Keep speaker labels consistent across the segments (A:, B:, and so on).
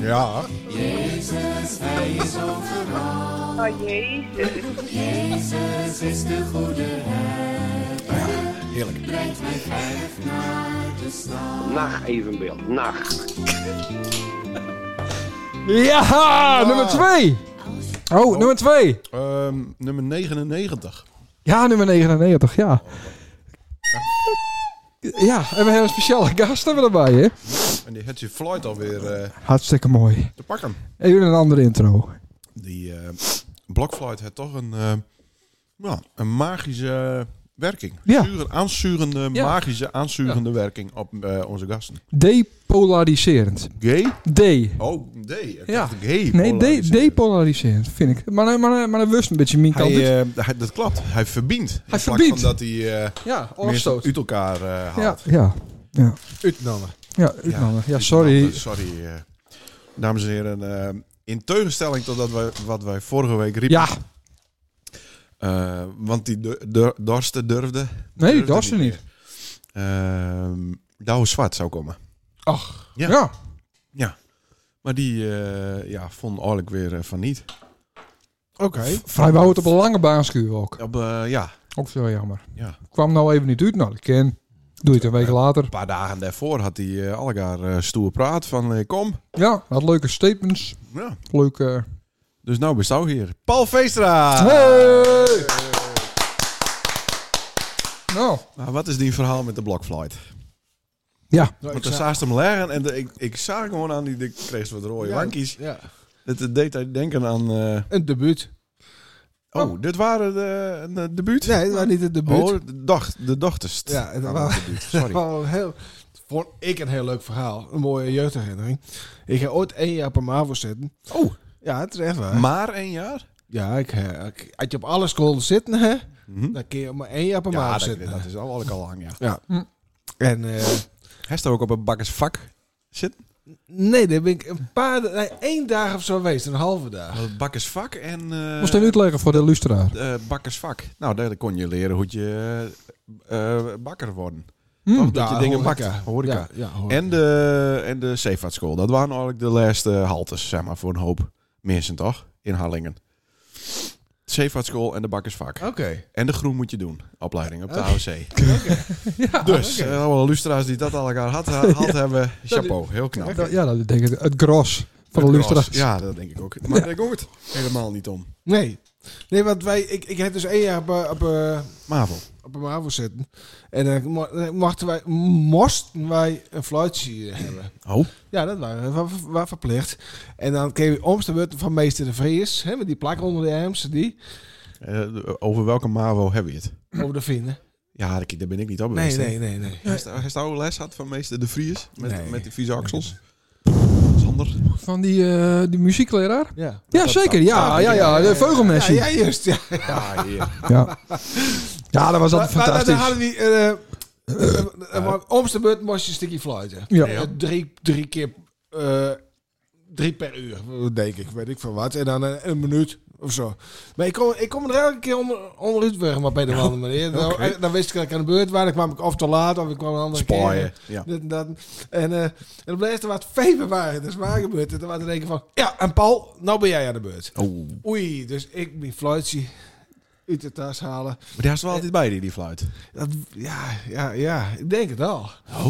A: Ja.
B: Oh jezus.
A: Heerlijk.
C: Nacht evenbeeld, nacht.
D: Ja, nummer 2. Oh, nummer 2.
A: Ehm, nummer 99.
D: Ja, nummer 99, ja. Ja, en we hebben een speciale gast hebben we erbij, hè?
A: En die had je Floyd alweer eh,
D: Hartstikke mooi.
A: te pakken.
D: Even een andere intro.
A: Die eh blokfluit heeft toch een, eh, nou, een magische werking.
D: Ja.
A: Zuren- aansturende,
D: Ja.
A: magische aansturende werking op eh, onze gasten.
D: Depolariserend.
A: Gay?
D: D.
A: Oh, D. Ik
D: Ja.
A: dacht Gay.
D: Nee, de-
A: polariserend.
D: depolariserend, vind ik. Maar, maar, maar, maar dat wist een beetje mijn kant.
A: Hij,
D: uit.
A: eh, hij- dat klopt. Hij verbindt. In plaats
D: verbindt.
A: van dat hij eh
D: ja,
A: mensen
D: afstoot.
A: uit elkaar eh,
D: Ja,
A: haalt.
D: ja, ja.
E: Uitnamen.
D: Ja, Utmannen. Ja,
A: Utmannen.
D: sorry.
A: Sorry, eh, dames en heren. eh, in tegenstelling tot dat wij, wat wij vorige week riepen.
D: Ja,
A: Eh, want die dur- dur- dorsten durfde.
D: Nee, die dorsten niet.
A: Ehm Douwe Zwart zou komen.
D: ach.
A: Ja.
D: Ja.
A: Maar die eh, ja, vond eigenlijk weer eh, van niet.
E: Oké.
D: Vrij wou het op een lange baanskuur ook.
A: Op, eh, ja,
D: Ook zo jammer.
A: ja,
D: Kwam nou even niet uit. Nou, dat ken. Doe je het een week later.
A: een paar dagen daarvoor had hij eh allegaar eh, stoer praat van eh, kom.
D: Ja, had leuke statements. eh.
A: Ja.
D: Leuke...
A: Dus nou bist jou hier. Paul Veestra!
D: Hey! Nou,
A: Maar wat is die verhaal met de blokflight?
D: ja.
E: Nou,
A: Want
E: ik
A: dan
E: zag-
A: zaag ze hem leggen en de- ik, ik zag gewoon aan die, die kreeg wat rode wankies.
E: Ja.
A: Het eh, deed hij denken aan... eh,
E: Een debuut.
A: oh, dit waren de, de, de buurt?
E: Nee, dat was niet een debuut.
A: Oh, de, doch, de dochters.
E: Ja, dat
A: Ah,
E: waren-
A: de buurt,
E: Dat
A: Sorry.
E: was een heel, vond ik een heel leuk verhaal. Een mooie jeugdherinnering. Ik ga ooit één jaar per MAVO zitten.
A: Oh,
E: Ja, het is echt waar.
A: maar één jaar?
E: ja, ik, eh, ik- als je op alle scholen zit, hè,
A: Mhm.
E: dan kun je maar één jaar per
A: Ja,
E: MAVO
A: dat,
E: zitten.
A: dat is al, al- al lang, ja.
E: Ja.
D: Hm.
E: En eh,
A: Hij staat ook op een bakkersvak zitten.
E: nee, daar ben ik een paar, nee, één dag of zo geweest. Een halve dag.
A: Een Bakkersvak en... eh,
D: Moest even uitleggen voor de luisteraar.
A: eh, bakkersvak. Nou, daar kon je leren hoe je eh, eh, bakker worden.
D: Hm.
A: Toch? Dat je dingen
E: horeca.
A: bakt. Horeca.
E: Ja, ja, horeca.
A: En de, en de zeevaartschool. Dat waren eigenlijk de laatste haltes, zeg maar, voor een hoop mensen, toch? In Hallingen. De zeevaartschool en de bakkersvak.
E: Oké.
A: En de groen moet je doen, opleiding op de
E: Oké.
A: HOC. Dus, eh, allemaal luisteraars die dat al elkaar had, eh, had hebben, chapeau, heel knap.
D: Dat- Ja, dat denk ik. Het gros van de
A: Het
D: luisteraar.
A: gras. Ja, dat denk ik ook. Maar daar ging het helemaal niet om.
E: Nee. Nee, want wij, ik, ik heb dus één jaar op, eh, op, eh,
A: Mavel.
E: op een MAVO zitten. En dan mo- eh, mochten wij, moesten wij een fluitje hebben.
A: Oh.
E: Ja, dat waren we wa- verplicht. En dan kreeg je omste beurt van meester de Vries. Hè, met die plak onder de arms, die.
A: Eh, over welke MAVO heb je het?
E: Over de vinden.
A: Ja, kijk, daar ben ik niet op
E: Nee,
A: geweest, hè.
E: nee, nee, nee.
A: Hij sta- Hij stouw les had van meester De Vries met,
E: Nee.
A: met die vieze aksels. Sander.
D: Van die, eh, die muziekleraar.
E: Ja.
D: Ja, zeker. Ah, Ja, ja, ja. De
E: Ja,
D: veugelmessie.
E: ja, juist. Ja.
A: Ja, hier.
D: Ja. Ja, dat was
E: Maar-
D: altijd
E: Maar dan
D: fantastisch.
E: hadden we... eh, eh, eh, maar omste beurt moest je een stukje fluiten.
D: Ja.
E: Eh, Drie, drie keer... eh, drie per uur, denk ik. Weet ik van wat. En dan eh, een, minuut of zo. Maar ik kom, ik kom er elke keer onder, onderuit weg, maar op een of andere manier. Dan,
A: Oké.
E: dan wist ik dat ik aan de beurt was. Dan kwam ik of te laat, of ik kwam een andere
A: Spaaien.
E: keer.
A: Ja.
E: Dit en dat. En, eh en dan bleef er wat februari. Dat is waar gebeurd. En dan was er een keer van... Ja, en Paul, nou ben jij aan de beurt.
A: Oh.
E: Oei, dus ik mijn fluitje uit de tas halen.
A: Maar daar is wel altijd bij, die, die fluit.
E: Dat, ja, ja, ja, ik denk het al.
A: Oh.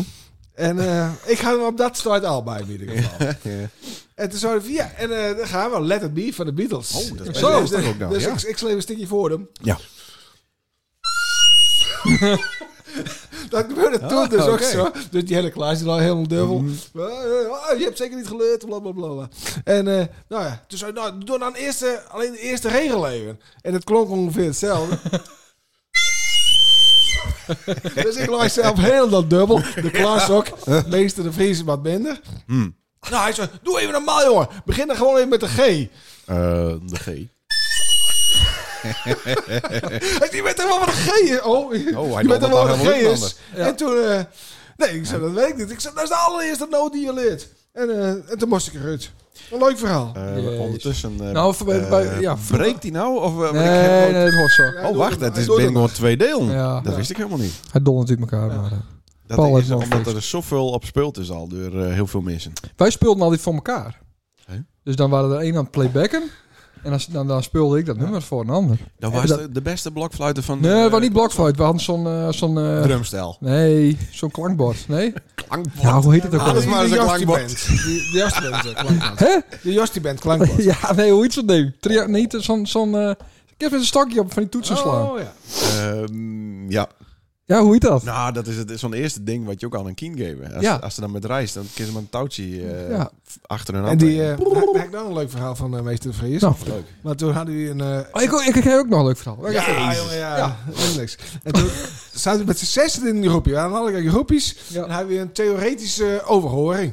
E: En eh, ik had hem op dat start al bij in ieder geval.
A: Ja.
E: en toen zouden we, ja, en eh, dan gaan we, Let It Be van de Beatles.
A: Oh, dat is
E: Zo.
A: best leuk ook nou,
E: Dus
A: ja.
E: ik, ik sleep een stukje voor hem.
A: Ja.
E: Dat gebeurde toen dus
A: oké.
E: ook zo. Dus die hele klaas is al helemaal dubbel. Oh, je hebt zeker niet geleerd, bla bla bla. bla. En eh, nou ja, toen zei ik, nou, doe dan eerst, eh, alleen de eerste regel even. En het klonk ongeveer hetzelfde. dus ik lag zelf helemaal dubbel. De klas ook. Meester de Vries wat minder. Nou, hij zei, doe even normaal, jongen. Begin dan gewoon even met de G.
A: Eh, de G.
E: Hij die weet helemaal wat een G is. Oh,
A: nam
E: je weet
A: het
E: helemaal
A: al
E: wat een G
A: helemaal
E: is. En toen... eh, nee, ik zei, dat weet ik niet. Ik zei, dat is de allereerste noot die je leert. En, eh, en toen moest ik eruit. Een leuk verhaal.
A: Eh,
D: Jezus.
A: ondertussen... eh,
D: Nou, of bij- bij- ja,
A: eh, breekt hij nou? Of, eh, want ik heb
D: Nee,
A: nooit-
D: nee, dat hoort zo.
E: Hij
A: Oh,
E: doet
A: wacht,
E: hem,
A: het
E: hij
A: is
E: doet
A: ben
E: hem.
A: gewoon twee delen.
D: Ja.
A: Dat
E: Ja.
A: wist ik helemaal niet.
D: Hij dondert uit elkaar. maar, eh.
A: Dat
D: Paul
A: is
D: heeft nog
A: omdat er zoveel op speelt is al door eh, heel veel mensen.
D: Wij speelden altijd voor elkaar.
A: Hè?
D: Dus dan waren er één aan het playbacken. En dan, dan, dan speelde ik dat nummer voor een ander.
A: Dat
D: Ja,
A: was
D: dat-
A: de, de beste blokfluiten van...
D: Nee, het
A: eh,
D: was niet blokfluit. We hadden zo'n... eh, zo'n eh,
A: Drumstijl.
D: nee, zo'n klankbord. Nee? Ah,
A: Klankbord.
D: Ja, hoe heet het ook
E: Ah,
A: Alles
D: alweer?
A: maar eens een klankbord.
E: De Jostie Band, eh, klankbord.
D: Hè?
E: De Jostie Band, klankbord.
D: Ja, nee, hoe heet zo'n ding? Tria, nee, zo'n... zo'n eh, ik heb met een stokje op van die toetsen slaan.
E: Oh, ja.
A: Ehm, ja.
D: Ja, hoe heet dat?
A: Nou, dat is, het, is zo'n eerste ding wat je ook aan een kind geven. Als,
D: Ja.
A: als ze dan met rijst, dan kiezen ze maar een touwtje eh,
D: Ja.
A: f- achter hun
E: En
A: hand.
E: die, eh daar heb ik nou een leuk verhaal van eh, meester Vries.
D: Nou.
E: Maar toen hadden jullie een... eh,
D: Oh, ik, ik, ik heb ook nog een leuk verhaal.
E: Ja, jongen, ja. Eindelijk. En toen zaten we met z'n zessen in een groepje. We hadden alle groepjes.
D: Ja.
E: En hadden we een theoretische overhoring.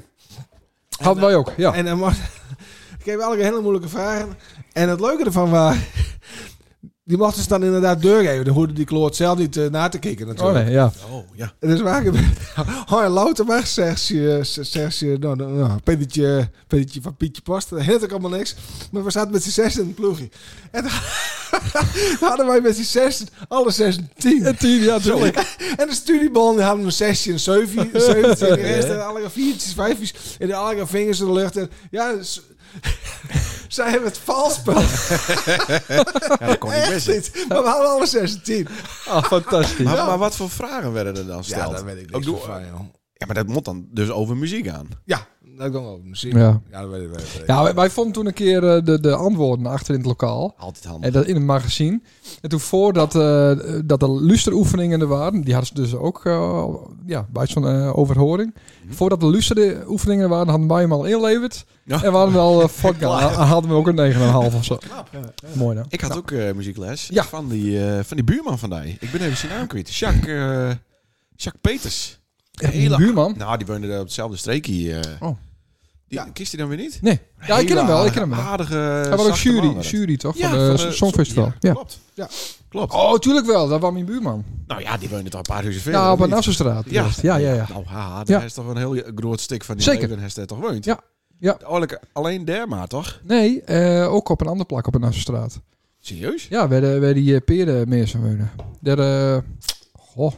D: Hadden wij ook, ja.
E: En dan mocht... Ik kreeg alle hele moeilijke vragen. En het leuke ervan was... Die mochten ze dan inderdaad doorgeven. Dan hoorde die kloot zelf niet eh, na te kijken
D: Oh
E: natuurlijk.
D: nee, ja.
A: Oh, ja.
E: En dus waar gebeurt Oh, en louter maar, zegt je, zegt je, nou, nou, nou pennetje, pennetje van Pietje Post. Dat heet ook allemaal niks. Maar we zaten met z'n zes in het ploegje. En dan hadden wij met z'n zes, alle zes een tien.
D: En tien, ja, tuurlijk.
E: En de studiebal, die hadden een zesje, een zeufje, een zeventje, en de rest, en alle viertjes, vijfjes, en de alle vingers in de lucht. En ja, s- zij hebben het vals spel.
A: ja, dat kon niet
E: Echt
A: missen.
E: niet. Maar we hadden alle zes een tien.
D: Ah, fantastisch.
A: Maar,
E: Ja.
A: maar wat voor vragen werden er dan gesteld? Ook doe- Ja, maar dat moet dan dus over muziek aan.
E: Ja, dat kan ook. Misschien.
D: Ja.
E: Ja. dat weet ik wel.
D: Ja, wij, wij vonden toen een keer eh, de, de antwoorden achter in het lokaal.
A: Altijd
D: En
A: handig.
D: dat in een magazine. En toen voordat eh, dat er lusteroefeningen er waren, die hadden ze dus ook eh, ja, bij zo'n eh, overhoring.
A: Mhm.
D: Voordat de lusteroefeningen er waren, hadden wij hem al inleverd.
A: Ja.
D: En waren we al eh, fuck, ja, hadden we ook een 9,5 of zo. Mooi nou.
A: Ik had ook eh, muziekles
D: Ja.
A: van, die, eh, van die buurman van die. Ik ben even zijn naam kwijt. Jacques, eh, Jacques Peters.
D: Ja, die buurman?
A: Nou, die woonde daar op hetzelfde streekje. eh.
D: Oh.
A: Die,
E: Ja.
A: Kiest hij dan weer niet?
D: Nee. Ja, ik ken hem wel, ik ken hem wel.
A: Aardige,
D: Hij was ook
A: zachte man
D: jury,
A: was dat.
D: jury toch?
A: Ja,
D: van de, Songfestival.
A: ja,
D: Ja.
A: Klopt.
E: Ja.
A: klopt.
D: Oh, tuurlijk wel. Dat was mijn buurman.
A: Nou ja, die woonde toch een paar huizen verder.
D: Ja, nou op
A: of
D: de
A: niet?
D: Nassenstraat.
A: Ja.
D: ja, ja, ja.
A: Nou, haha,
D: Ja.
A: daar is toch een heel groot stuk van die
D: Zeker.
A: leven heeft hij toch woont.
D: Ja. Ja.
A: Oorlijk, alleen daar maar, toch?
D: Nee, eh, ook op een andere plek op de Nassenstraat.
A: Serieus?
D: Ja, waar, de, waar die eh, peren meer zijn wonen. Daar, eh goh,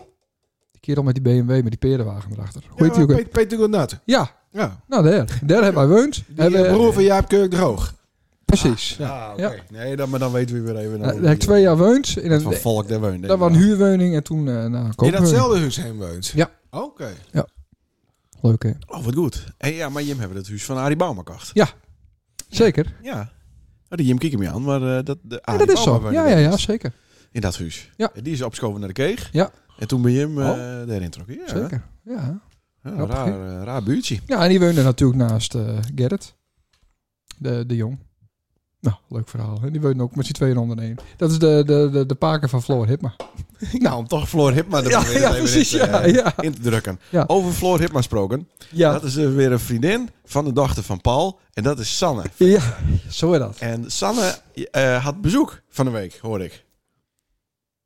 D: die kerel met die BMW, met die perenwagen erachter. Hoe heet die ook?
E: Peter, Peter Godnat.
D: Ja,
E: Ja.
D: nou daar. Daar hebben wij woont.
E: Die
D: Hebben,
E: eh, broer van Jaap Keuk Droog.
D: precies.
E: Ja.
A: Ah, Nee, dan, maar dan weten we weer even...
D: Eh, daar heb ik twee jaar woont. In
A: Wat voor
D: een,
A: volk daar woonde.
D: dat was een huurwoning en toen eh nou,
E: In
D: koopwoning.
E: datzelfde huis heen woont.
D: Ja.
E: Oké.
D: Leuk hè?
A: Oh, wat goed. En ja, maar Jim hebben het huis van Arie Bouwman gekocht.
D: Zeker.
A: Ja. Oh, die Jim kijkt hem aan, maar eh, dat, de
D: Ja,
A: Arie
D: dat is
A: Bouwman
D: zo.
A: woonde
D: Ja,
A: daar
D: ja, ja,
A: eerst.
D: zeker.
A: In dat huis.
D: Ja.
A: En Die is opgeschoven naar de keeg.
D: Ja.
A: En toen ben Jim eh
D: Oh.
A: daarin trokken. Ja,
D: Zeker. Ja.
A: Ja,
D: Grappig,
A: raar, eh, raar buurtje.
D: ja, en die woonde natuurlijk naast eh, Gerrit. De, de jong. Nou, leuk verhaal. En die woonde ook met z'n tweeën onder één. Dat is de, de, de, de paken van Floor Hipma.
A: Nou, om toch Floor Hipma er
D: Ja,
A: weer
D: ja
A: even
D: precies.
A: in, te- eh,
D: Ja, ja.
A: in te drukken.
D: Ja.
A: Over Floor Hipma gesproken.
D: Ja.
A: Dat is eh, weer een vriendin van de dochter van Paul. En dat is Sanne.
D: ja, zo is dat.
A: En Sanne eh, had bezoek van de week, hoor ik.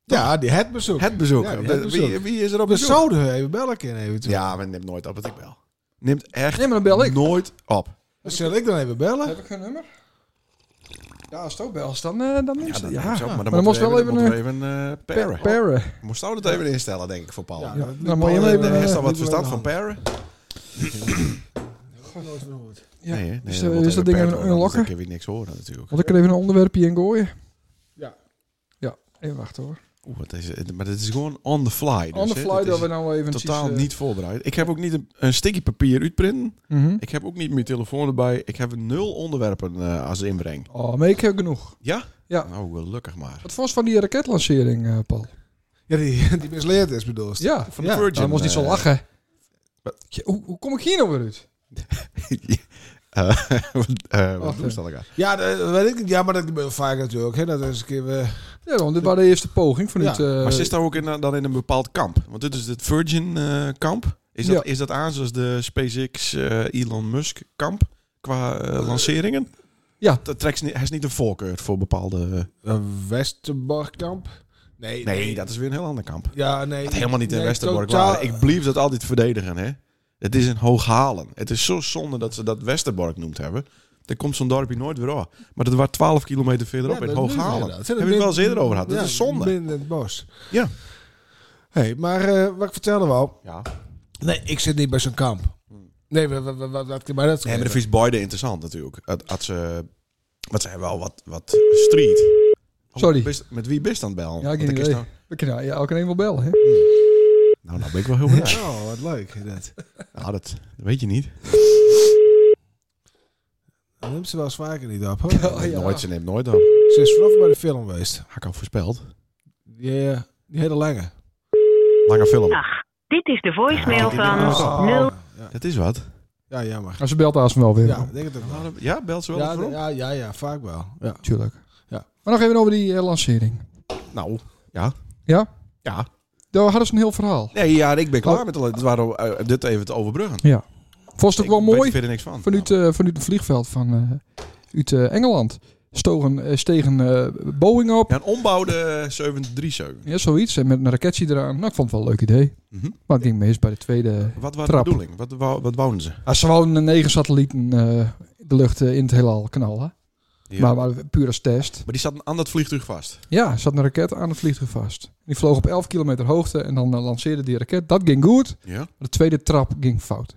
E: Ja, die het bezoek.
A: Het bezoek.
E: Ja, die
A: De-
E: het bezoek.
A: Wie, wie is er op
E: We
A: bezoek?
E: zouden we even bellen kunnen eventueel.
A: Ja, maar neemt nooit op, want ik wel. Neemt echt
D: Nee, maar dan bel ik.
A: nooit op.
E: Dus Zal ik dan even bellen?
D: Heb ik hun nummer? Ja, als het ook belt, dan, eh dan neemt
A: Ja,
D: ze
A: dat
D: het.
A: ja.
D: Ja,
A: Zo, maar dan moeten
D: dan moest
A: we
D: wel
A: even,
D: even,
A: moeten we even eh, paren.
D: Perre.
A: Moest dat even instellen, denk ik, voor Paul.
E: Ja,
A: Ja.
D: Ja,
E: dat-
D: dan moet je hem
E: Paul,
D: even...
E: eh,
A: Heeft
D: eh,
A: hij al wat
E: die
A: verstand van
E: wil
A: paren?
D: ja.
A: hè?
D: Dus,
A: dan
D: eh,
A: moet hij
D: is dat ding
A: gepaired
D: een
A: worden, anders
D: unlocker?
A: Dan kun je niks horen natuurlijk.
D: Want ik er even een onderwerpje in gooien.
E: Ja.
D: Ja, even wachten hoor.
A: Oeh, wat is het? Maar dit is gewoon on the fly. Dus,
D: On the
A: hè?
D: fly
A: Dit
D: dat
A: is
D: we nou even...
A: Totaal
D: precies, eh,
A: niet voorbereid. Ik heb ook niet een, een sticky papier uitprinten.
D: mhm.
A: Ik heb ook niet mijn telefoon erbij. Ik heb nul onderwerpen eh, als inbreng.
D: Oh, maar ik heb genoeg.
A: Ja?
D: Ja.
A: Nou, gelukkig maar.
D: Wat was van die raketlancering, eh, Paul?
E: Ja, die, die misleerd is bedoeld.
D: Ja,
A: Van de
E: Ja,
A: Virgin.
D: dan moest niet zo
A: eh,
D: lachen.
A: wat?
D: Ja, Hoe, hoe kom ik hier nou weer uit?
A: eh, wat- eh,
D: Wacht
A: Wat doen ze dan elkaar?
E: Ja, dat weet ik niet. Ja, maar dat gebeurt vaak natuurlijk. Hè. Dat is een keer... eh,
D: Ja, want dit was de eerste poging vanuit...
E: Ja,
D: eh,
A: Maar zit daar ook in, eh, dan in een bepaald kamp? Want dit is het Virgin eh, kamp. Is dat, is dat aan zoals de SpaceX eh, Elon Musk kamp qua eh, lanceringen?
D: Ja.
A: Dat trekt ze niet, hij is niet een voorkeur voor bepaalde... eh,
E: een Westerborgkamp? Nee,
A: nee, dat is weer een heel ander kamp.
E: Ja, nee.
A: Dat helemaal niet in
E: nee,
A: Westerbork
E: totaal-
A: waren. Ik blijf dat altijd verdedigen, hè. Het is een hooghalen. Het is zo zonde dat ze dat Westerbork noemd hebben. Dan komt zo'n dorpje nooit weer aan. Maar dat was 12 kilometer verderop
E: Ja,
A: in
E: dat doen
A: Hooghalen.
E: we
A: Daar
E: inderdaad.
A: hebben we het wel eens eerder over gehad. Dat
E: Ja,
A: is zonde.
E: Binnen het bos.
A: Ja.
E: hey, maar eh, wat ik vertelde wel.
A: Ja.
E: Nee, ik zit niet bij zo'n kamp. Nee, wat, wat, wat, wat- maar dat
A: Nee, maar de vies beide interessant natuurlijk. Had, had ze, wat zijn wel wat, wat street. Oh,
D: Sorry.
A: best- met wie best aan het bel?
D: Ja, ik heb geen idee. We kunnen ja, elke een wel bellen, hè?
A: Nou, nou ben ik wel heel benieuwd.
E: Oh, wat leuk. Dat.
A: nou, dat, dat weet je niet.
E: Dat neemt ze wel eens vaker niet op, hoor.
D: Oh, ja.
A: Nooit, ze neemt nooit op.
E: Ze is vanaf bij de film geweest.
A: Had ik al voorspeld.
E: Ja, ja. die hele lange.
A: Lange film.
B: Dit is de voicemail
A: Ja,
B: van...
A: Oh.
B: nul.
E: Ja,
A: Dat is wat.
E: ja jammer.
D: Maar ze belt haast wel weer.
E: Ja,
D: Ja.
E: ik denk het ook wel.
A: Ja, belt ze wel
E: Ja,
A: even op?
E: ja, ja, ja, vaak wel. Ja.
D: Tuurlijk.
E: Ja.
D: Maar nog even over die eh, lancering.
A: Nou, ja.
D: Ja?
A: Ja.
D: Daar hadden ze een heel verhaal.
A: Nee, ja, ik ben klaar met alle- het waren, eh, dit even te overbruggen.
D: Ja. Vond je het
A: Ik
D: ook wel
A: weet
D: mooi?
A: verder niks van.
D: Vanuit, eh vanuit het vliegveld van eh, uit eh, Engeland stogen, eh, stegen eh, Boeing op.
A: Ja, een ombouwde 737.
D: Ja, zoiets. En met een raketje eraan. Nou, ik vond het wel een leuk idee.
A: Mhm.
D: Maar het ging mis bij de tweede.
A: Wat was de
D: Trap.
A: bedoeling? Wat, wou- wat wouden ze?
D: Ah, ze wouden negen satellieten eh, de lucht eh, in het heelal knallen.
A: Die-
D: Maar,
A: maar
D: maar puur als test.
A: die zaten aan dat vliegtuig vast.
D: Ja, er zat een raket aan het vliegtuig vast. Die vloog op 11 kilometer hoogte en dan eh, lanceerde die raket. Dat ging goed.
A: Ja. Oké.
D: Maar de tweede trap ging fout.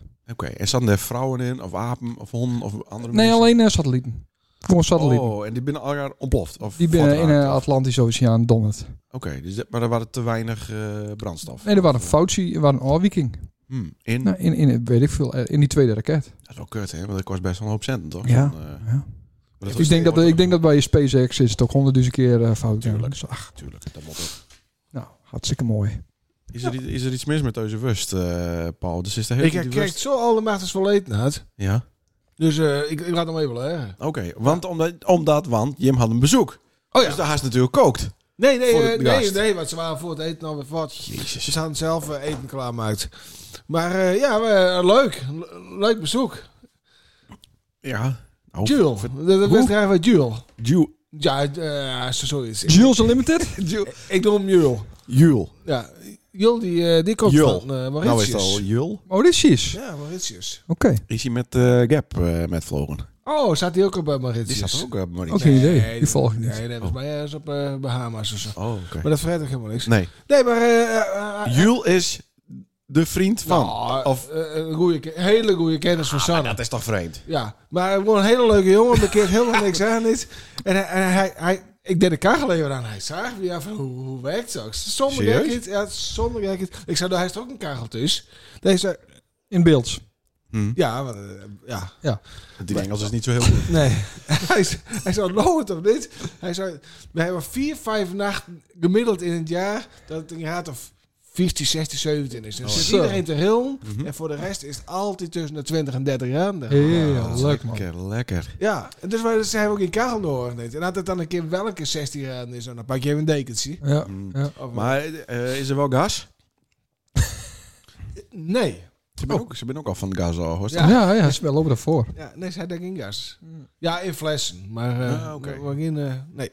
A: En zaten er vrouwen in, of apen, of honden, of andere
D: Nee,
A: mensen?
D: alleen eh, satellieten. Gewoon satellieten.
A: Oh, en die binnen elkaar ontploft? Of
D: Die binnen in eh,
A: voortraakt,
D: de
A: of-
D: Atlantische Oceaan donderd.
A: Oké, dus dat- maar er waren te weinig eh, brandstof.
D: Nee, er waren een foutje, er waren een afwijking.
A: Hmm, in?
D: Nou, in, in, weet ik veel, eh, in die tweede raket.
A: Dat is wel kut, hè? Want dat kost best wel een hoop centen, toch?
D: Ja.
A: Dan, eh, maar
D: Ja.
A: dat
D: Ik,
A: was-
D: denk dat, ik denk dat bij SpaceX is het ook honderdduizend keer eh, fout.
A: Tuurlijk.
D: Dus, ach,
A: Tuurlijk, dat moet ook.
D: nou, hartstikke mooi.
A: Is er, i- is er iets mis met deze wust, eh, Paul? Dus is de hele
E: Ik
A: die
E: heb kijkt
A: wust-
E: zo al de machtens verleden uit.
A: Ja.
E: Dus eh, ik, ik laat hem even leggen.
A: Oké, want omdat, omdat, want Jim had een bezoek.
E: Oh ja.
A: Dus daar haast natuurlijk kookt.
E: Nee, nee,
A: Voor de
E: eh, nee,
A: gast.
E: nee, want ze waren voor het eten alweer wat.
A: Jezus.
E: Ze hadden zelf eh, eten klaarmaakt. Maar eh, ja, eh, leuk. Le- leuk bezoek.
A: Ja. Nou,
E: Juul.
A: ver-
E: De, de
A: Hoe?
E: wedstrijd van Juul.
A: Ju-
E: Ja, eh, zo zoiets. Ik,
D: Jules Unlimited?
E: ik noem hem Juul.
A: Jul.
E: Ja, Juul die, eh, die komt
A: Juul.
E: van eh,
A: Nou is
E: Mauritius.
A: het al Jul.
D: Mauritius.
E: Ja, Mauritius.
D: Oké.
A: Is hij met eh, Gap eh, met vlogen?
E: Oh, zat hij ook op bij
A: Die
E: Mauritius?
A: zat ook eh, maar niet.
D: Oké, idee. Die volg ik niet.
E: Nee, nee, volgens mij ergens op eh, Bahamas of zo.
A: Oh, oké.
E: Maar dat verrijdt ook helemaal niks.
A: Nee.
E: Nee, maar... eh, eh, eh,
A: Jul is de vriend van.
E: nou,
A: of, Ah,
E: eh, een goeie ke- hele goede kennis van Sanne.
A: dat is toch vreemd?
E: Ja, maar gewoon een hele leuke jongen. Maar keert helemaal niks aan. Niet. En, hij, en hij, hij, ik deed de kachel even aan. Hij zag me, ja, van, hoe, hoe werkt dat? Zonder
A: Serieus?
E: gek het. Ja, zonder gek het. Ik zei, nou, hij is toch ook een kachel dus. Nee, zei,
D: In beeld.
E: ja, maar, eh, ja.
A: Die Engels is niet zo heel goed.
E: Nee. hij, zei- hij zei, nou het of niet? Hij zei, we hebben vier, vijf nachten gemiddeld in het jaar. Dat het een gaat of 15, 16, 17 is. Dan zit
D: Zo.
E: iedereen te rillen. En voor de rest is het altijd tussen de 20 en 30 jaar. Nou,
D: Heel leuk, man.
E: Oh.
A: Lekker, lekker.
E: Ja, en dus wij zijn ook in Karel nodig. niet. En had het dan een keer wel een keer 16 jaar is, dan pak je even een dekentje.
D: Ja. ja.
E: Of-
A: Maar eh, is er wel gas?
E: nee.
A: Ze ben, ook, ze ben ook al van gas al, hoor.
E: Ja.
D: Ja, ja, ze lopen daarvoor.
E: Ja, nee, zij denkt in gas. Ja, in flessen. Maar, eh
A: Ah, oké.
E: maar geen, eh, nee.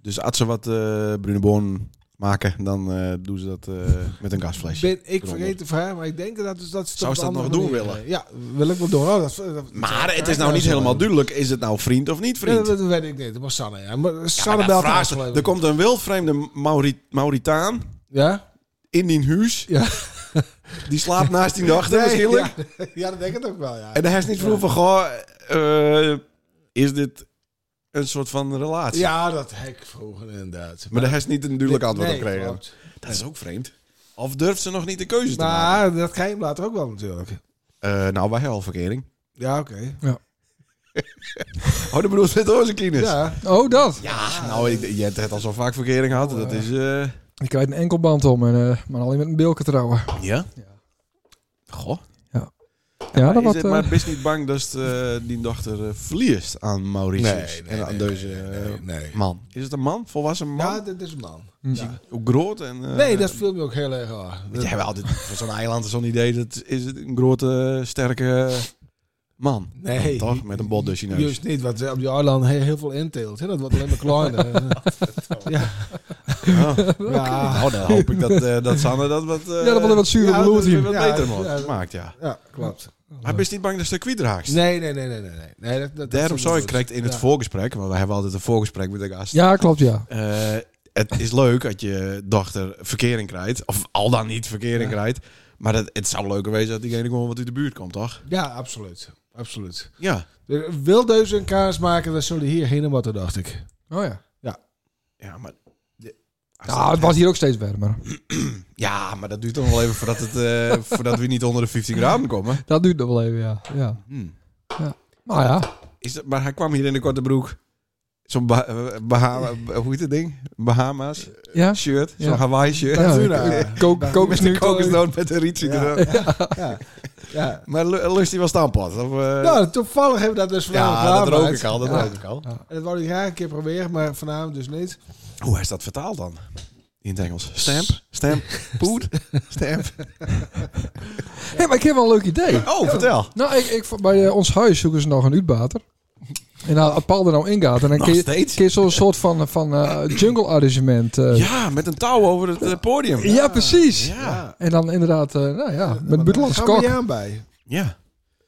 A: Dus als ze wat eh bruine boon maken, dan eh, doen ze dat eh, met een gasflesje.
E: Ben, ik vergeet te vragen, maar ik denk dat dus dat
A: Zou
E: op
A: ze
E: een
A: dat
E: andere
A: nog doen
E: manier,
A: willen?
E: eh, Ja, wil ik wel doen. Oh, dat, dat- dat-
A: maar het is nou niet helemaal duidelijk. Is het nou vriend of niet
E: Nee,
A: vriend?
E: dat, dat weet ik niet. Dat was Sanne. Ja. Maar Sanne
A: Ja, dat
E: belt
A: vraagt-
E: haar afgelopen.
A: er komt een wildvreemde Mauri- Mauritaan
E: Ja?
A: in die huis.
E: Ja.
A: Die slaapt naast die nachten waarschijnlijk.
E: ja, ja, dat denk ik ook wel, ja.
A: En hij is niet vroeg van, goh, eh, is dit een soort van relatie?
E: Ja, dat hek vroeger inderdaad.
A: Maar daar is niet een duidelijk antwoord
E: Nee,
A: op gekregen.
E: klopt.
A: Dat is ook vreemd. Of durft ze nog niet de keuze te maken?
E: Maar dat ga je hem later ook wel natuurlijk.
A: Eh, nou, wij hebben al verkering.
E: Ja, oké.
A: Oh, dat bedoelt met onze kines. Ja.
E: Ja.
D: Oh, dat.
A: nou, ik, je hebt het al zo vaak verkering gehad. dat is... eh,
D: Ik krijg een enkelband om, en, eh, maar alleen met een bilke trouwen.
A: ja? Goh.
D: Ja, dat
A: is
D: wat...
A: het,
D: eh,
A: maar best niet bang dat eh, die dochter eh, verliest aan Mauritius
E: Nee, nee,
A: en aan
E: nee,
A: deze eh,
E: nee.
A: man. Is het een man? Volwassen man?
E: Ja, dit is een man.
D: eh,
A: Is hij ook groot? En, eh,
E: Nee, dat viel me ook heel erg aan.
A: Jij hebt altijd voor zo'n eiland zo'n idee. Dat is het een grote, sterke man.
E: Nee.
A: Toch? Met een bot dus je neus.
E: Juist niet, want op die eiland heel, heel veel inteelt. Hè? Dat wordt alleen maar kleiner. ja.
A: Ja.
E: Ja.
A: Nou, dan hoop ik dat, eh, dat Sanne dat wat... eh,
D: ja, dat wordt wat zuur
E: ja,
D: bloed
E: dat-
D: hier.
A: wat
E: Ja,
A: beter wordt.
E: ja.
A: maakt, ja.
E: ja, klopt.
A: Maar bist niet bang dat ze kwijtraakt?
E: Nee, nee, nee, nee. nee, nee. nee dat, dat,
A: Daarom
E: dat
A: zou ik
E: goed.
A: krijgt in het
E: Ja.
A: voorgesprek, want we hebben altijd een voorgesprek met de gast.
D: Ja, klopt, ja.
A: Eh, het is leuk dat je dochter verkering krijgt, of al dan niet verkering krijgt. Maar dat, het zou leuker wezen dat diegene gewoon wat uit de buurt komt, toch?
E: Ja, absoluut. Absoluut.
A: Ja.
E: Er Wil deze een kaas maken, dan zullen hier heen en wat, dacht ik.
D: Oh ja.
A: Ja, maar... de- als
D: Nou,
A: dat-
D: het was hier ook steeds warmer.
A: Ja, maar dat duurt toch wel even voordat, het, eh, voordat we niet onder de 15 graden komen.
D: Dat duurt nog wel even, ja. ja.
A: Hmm.
D: Maar ja,
A: Is dat, maar hij kwam hier in de korte broek. Zo'n Bah- eh, Bahama... Hoe heet het ding? Bahama's
D: ja.
A: shirt. Zo'n
D: Ja.
A: Hawaii shirt.
D: Ja,
E: Natura.
D: ik- ik kook- kook is
A: Met de
D: nu toch-
A: kokosnoot met de rietje
E: Ja.
A: erop.
E: Ja. ja.
A: Maar lu- lust hij wel staanplat? Of, eh,
E: Nou, toevallig hebben we dat dus vanavond
A: ja, dat rook
E: klaargemaakt.
A: ik al. Dat
E: Ja.
A: rook ik al.
E: En dat wou ik graag een keer proberen, maar vanavond dus niet.
A: Hoe is dat vertaald dan? In het Engels. Stamp, stamp, poed, stamp.
D: Hé, maar ik heb wel een leuk idee.
A: Oh, vertel.
D: Nou, ik, ik, bij eh, ons huis zoeken ze nog een uitbater. En nou, als Paul er nou ingaat, en dan
A: Nog
D: kun je,
A: steeds?
D: kun je zo'n soort van, van eh, jungle arrangement. eh,
A: Ja, met een touw over het eh, podium.
D: ja, precies.
A: Ja.
D: En dan inderdaad, eh, nou ja, met buitenlandse
E: Gaan
D: kok.
E: we
D: Ja,
E: aan bij.
A: Ja.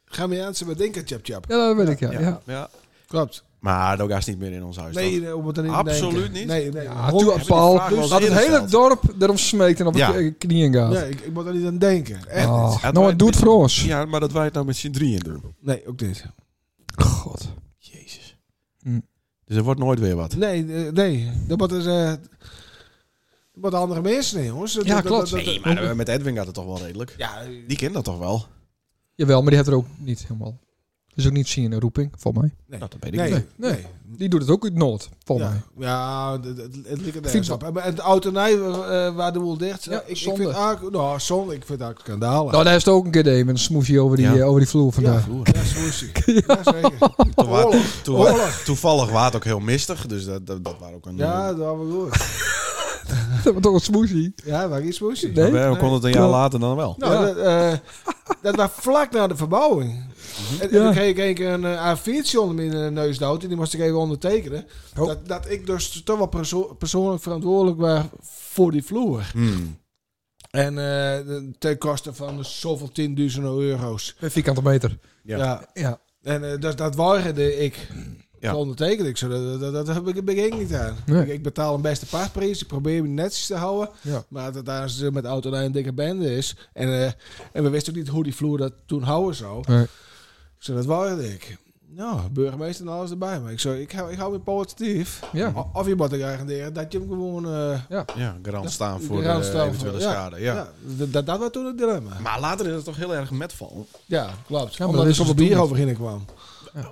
E: Gaan we aan, ze bedenken, chap chap.
D: dat weet ik, ja. ja.
A: ja.
E: Klopt.
A: Maar dat gaat niet meer in ons huis.
E: Nee,
A: toch?
E: nee, om het er niet
A: Absoluut
E: denken.
A: niet.
E: Nee, nee.
D: Ja,
E: Honderd-
D: toen
A: die
D: Paul
A: vraag wel eens
D: dat het
A: eerder
D: hele dorp erom smeekt en op
A: Ja.
D: de knieën gaat.
E: nee, ik, ik moet er niet aan denken. Echt
D: Oh,
E: niet.
A: Hadden
D: nou,
A: wij
D: maar doe het voor ons.
A: Ja, maar dat wij het nou met z'n drieën doen.
E: Nee, ook niet.
D: God.
A: Jezus.
D: Hm.
A: Dus er wordt nooit weer wat.
E: Nee, eh, nee. Dat wordt dus... eh, dat wordt andere mensen, nee, jongens. Dat-
D: Ja,
E: dat-
D: klopt.
E: dat- dat-
A: Nee, maar eh, met Edwin gaat het toch wel redelijk.
E: Ja,
A: Die kent dat toch wel?
D: Jawel, maar die heeft er ook niet helemaal... Dus ook niet zien in een roeping, volgens mij.
A: Nou, dat weet ik
E: nee,
A: niet.
E: nee.
D: nee. Die doet het ook uit Noord, volgens
E: Ja,
D: mij.
E: ja het, het, het ligt er nergens
D: Fietsen.
E: op. En, en de autonij eh, waar de boel dicht.
D: Ja,
E: eh, ik, ik
D: zonde.
E: vind eigenlijk, nou, zonde. Ik vind het eigenlijk schandalig.
D: Nou, daar heeft het ook een keer deed met een smoesje over die,
A: Ja.
D: eh, over die vloer vandaag.
E: ja, ja, smoesie. ja, zeker.
A: Toen wa-
E: Oorlog.
A: toen-
E: Oorlog.
A: toevallig was het ook heel mistig. Dus dat, dat, dat was ook een...
E: Ja, dat hadden we goed.
D: Dat was toch een smoothie?
E: Ja, waar is smoesie?
D: Nee.
A: we konden het een jaar
D: Nee.
A: later dan wel.
E: Nou,
D: Ja.
E: dat, eh, dat was vlak na de verbouwing. En, en
D: Mhm. Ja.
E: dan kreeg ik een keer een eh, A4'tje onder mijn eh, neus dood. En die moest ik even ondertekenen.
D: Oh.
E: Dat, dat ik dus toch wel perso- persoonlijk verantwoordelijk was voor die vloer.
A: Hmm.
E: En eh, ten koste van zoveel 10.000 euro's.
D: Een vierkante meter.
A: Ja.
E: ja.
D: Ja.
E: En eh, dat, dat weigerde ik.
A: Ja.
E: Dat ondertekende ik zo. Dat, dat, dat heb ik begin niet aan.
D: Nee.
E: Ik, ik betaal een beste paardprijs. Ik probeer me netjes te houden.
D: Ja.
E: Maar dat daar ze met de auto naar een dikke bende is. En, eh, en we wisten ook niet hoe die vloer dat toen houden zou.
D: Nee.
E: Dus dat weigerde ik. Nou, burgemeester en alles erbij. Maar ik, zo, ik, hou, ik hou me positief.
D: Ja.
E: O- Of je moet er garanderen dat je hem gewoon... eh,
A: Ja, garant staan voor
E: garant
A: de
E: staan voor-
A: eventuele
E: ja.
A: schade.
E: ja.
A: Ja.
E: dat- dat, dat was toen het dilemma.
A: Maar later is het toch heel erg metval.
E: Ja, klopt.
D: maar
E: Omdat
D: dat
E: er zoveel
D: is dus toen
E: bier
D: niet.
E: over binnenkwam.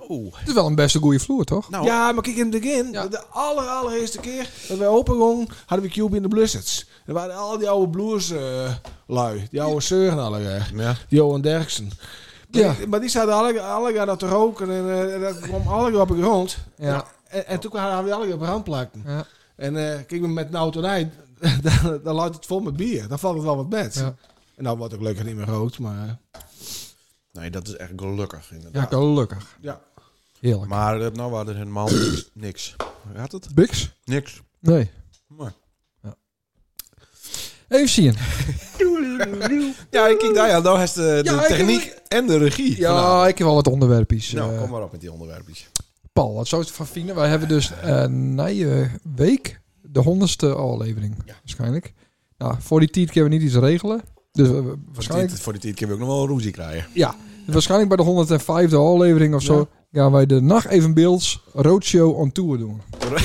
A: Oh.
D: Het is wel een beste goede vloer, toch?
A: Nou,
E: Ja, maar kijk, in het begin,
D: Ja.
E: de aller, allereerste keer dat wij open gingen, hadden we Cube in de Blizzards. Er waren al die oude blues eh, lui, die oude zeuren alle,
A: ja.
E: Johan Derksen. Maar
D: Ja.
E: die- Maar die zaten alle, alle gaan dat te roken en eh, en dat kwam alle op de grond.
D: Ja.
E: En, en toen hadden we alle op brandplakten.
D: Ja.
E: En eh kijk, met een autonij, dan, dan laat het vol met bier. Dan valt het wel wat met.
D: Ja.
E: En nou wordt ook lekker niet meer gerookt, maar... eh,
A: Nee, dat is echt gelukkig inderdaad.
D: Ja, gelukkig.
E: Ja.
D: Heerlijk.
A: Maar eh, nou waren er helemaal niks. Gaat het?
D: Bix?
A: Niks.
D: Nee.
A: Maar.
D: Even zien.
A: Ja, ik kijk daar ja, nou heeft de, de
D: Ja, ik heb-
A: techniek en de regie.
D: Ja,
A: vanavond.
D: ik heb wel wat onderwerpjes.
A: Nou,
D: eh,
A: kom maar op met die onderwerpjes.
D: Paul, wat zou het van vinden? Wij hebben dus eh na je week de honderdste aflevering. Waarschijnlijk. Nou, voor die tijd kunnen we niet iets regelen. Dus eh, waarschijnlijk,
A: Voor die tijd keer wil ik nog wel een roezie krijgen.
D: ja, waarschijnlijk bij de 105e aflevering of zo gaan wij de nacht evenbeelds roadshow on tour doen.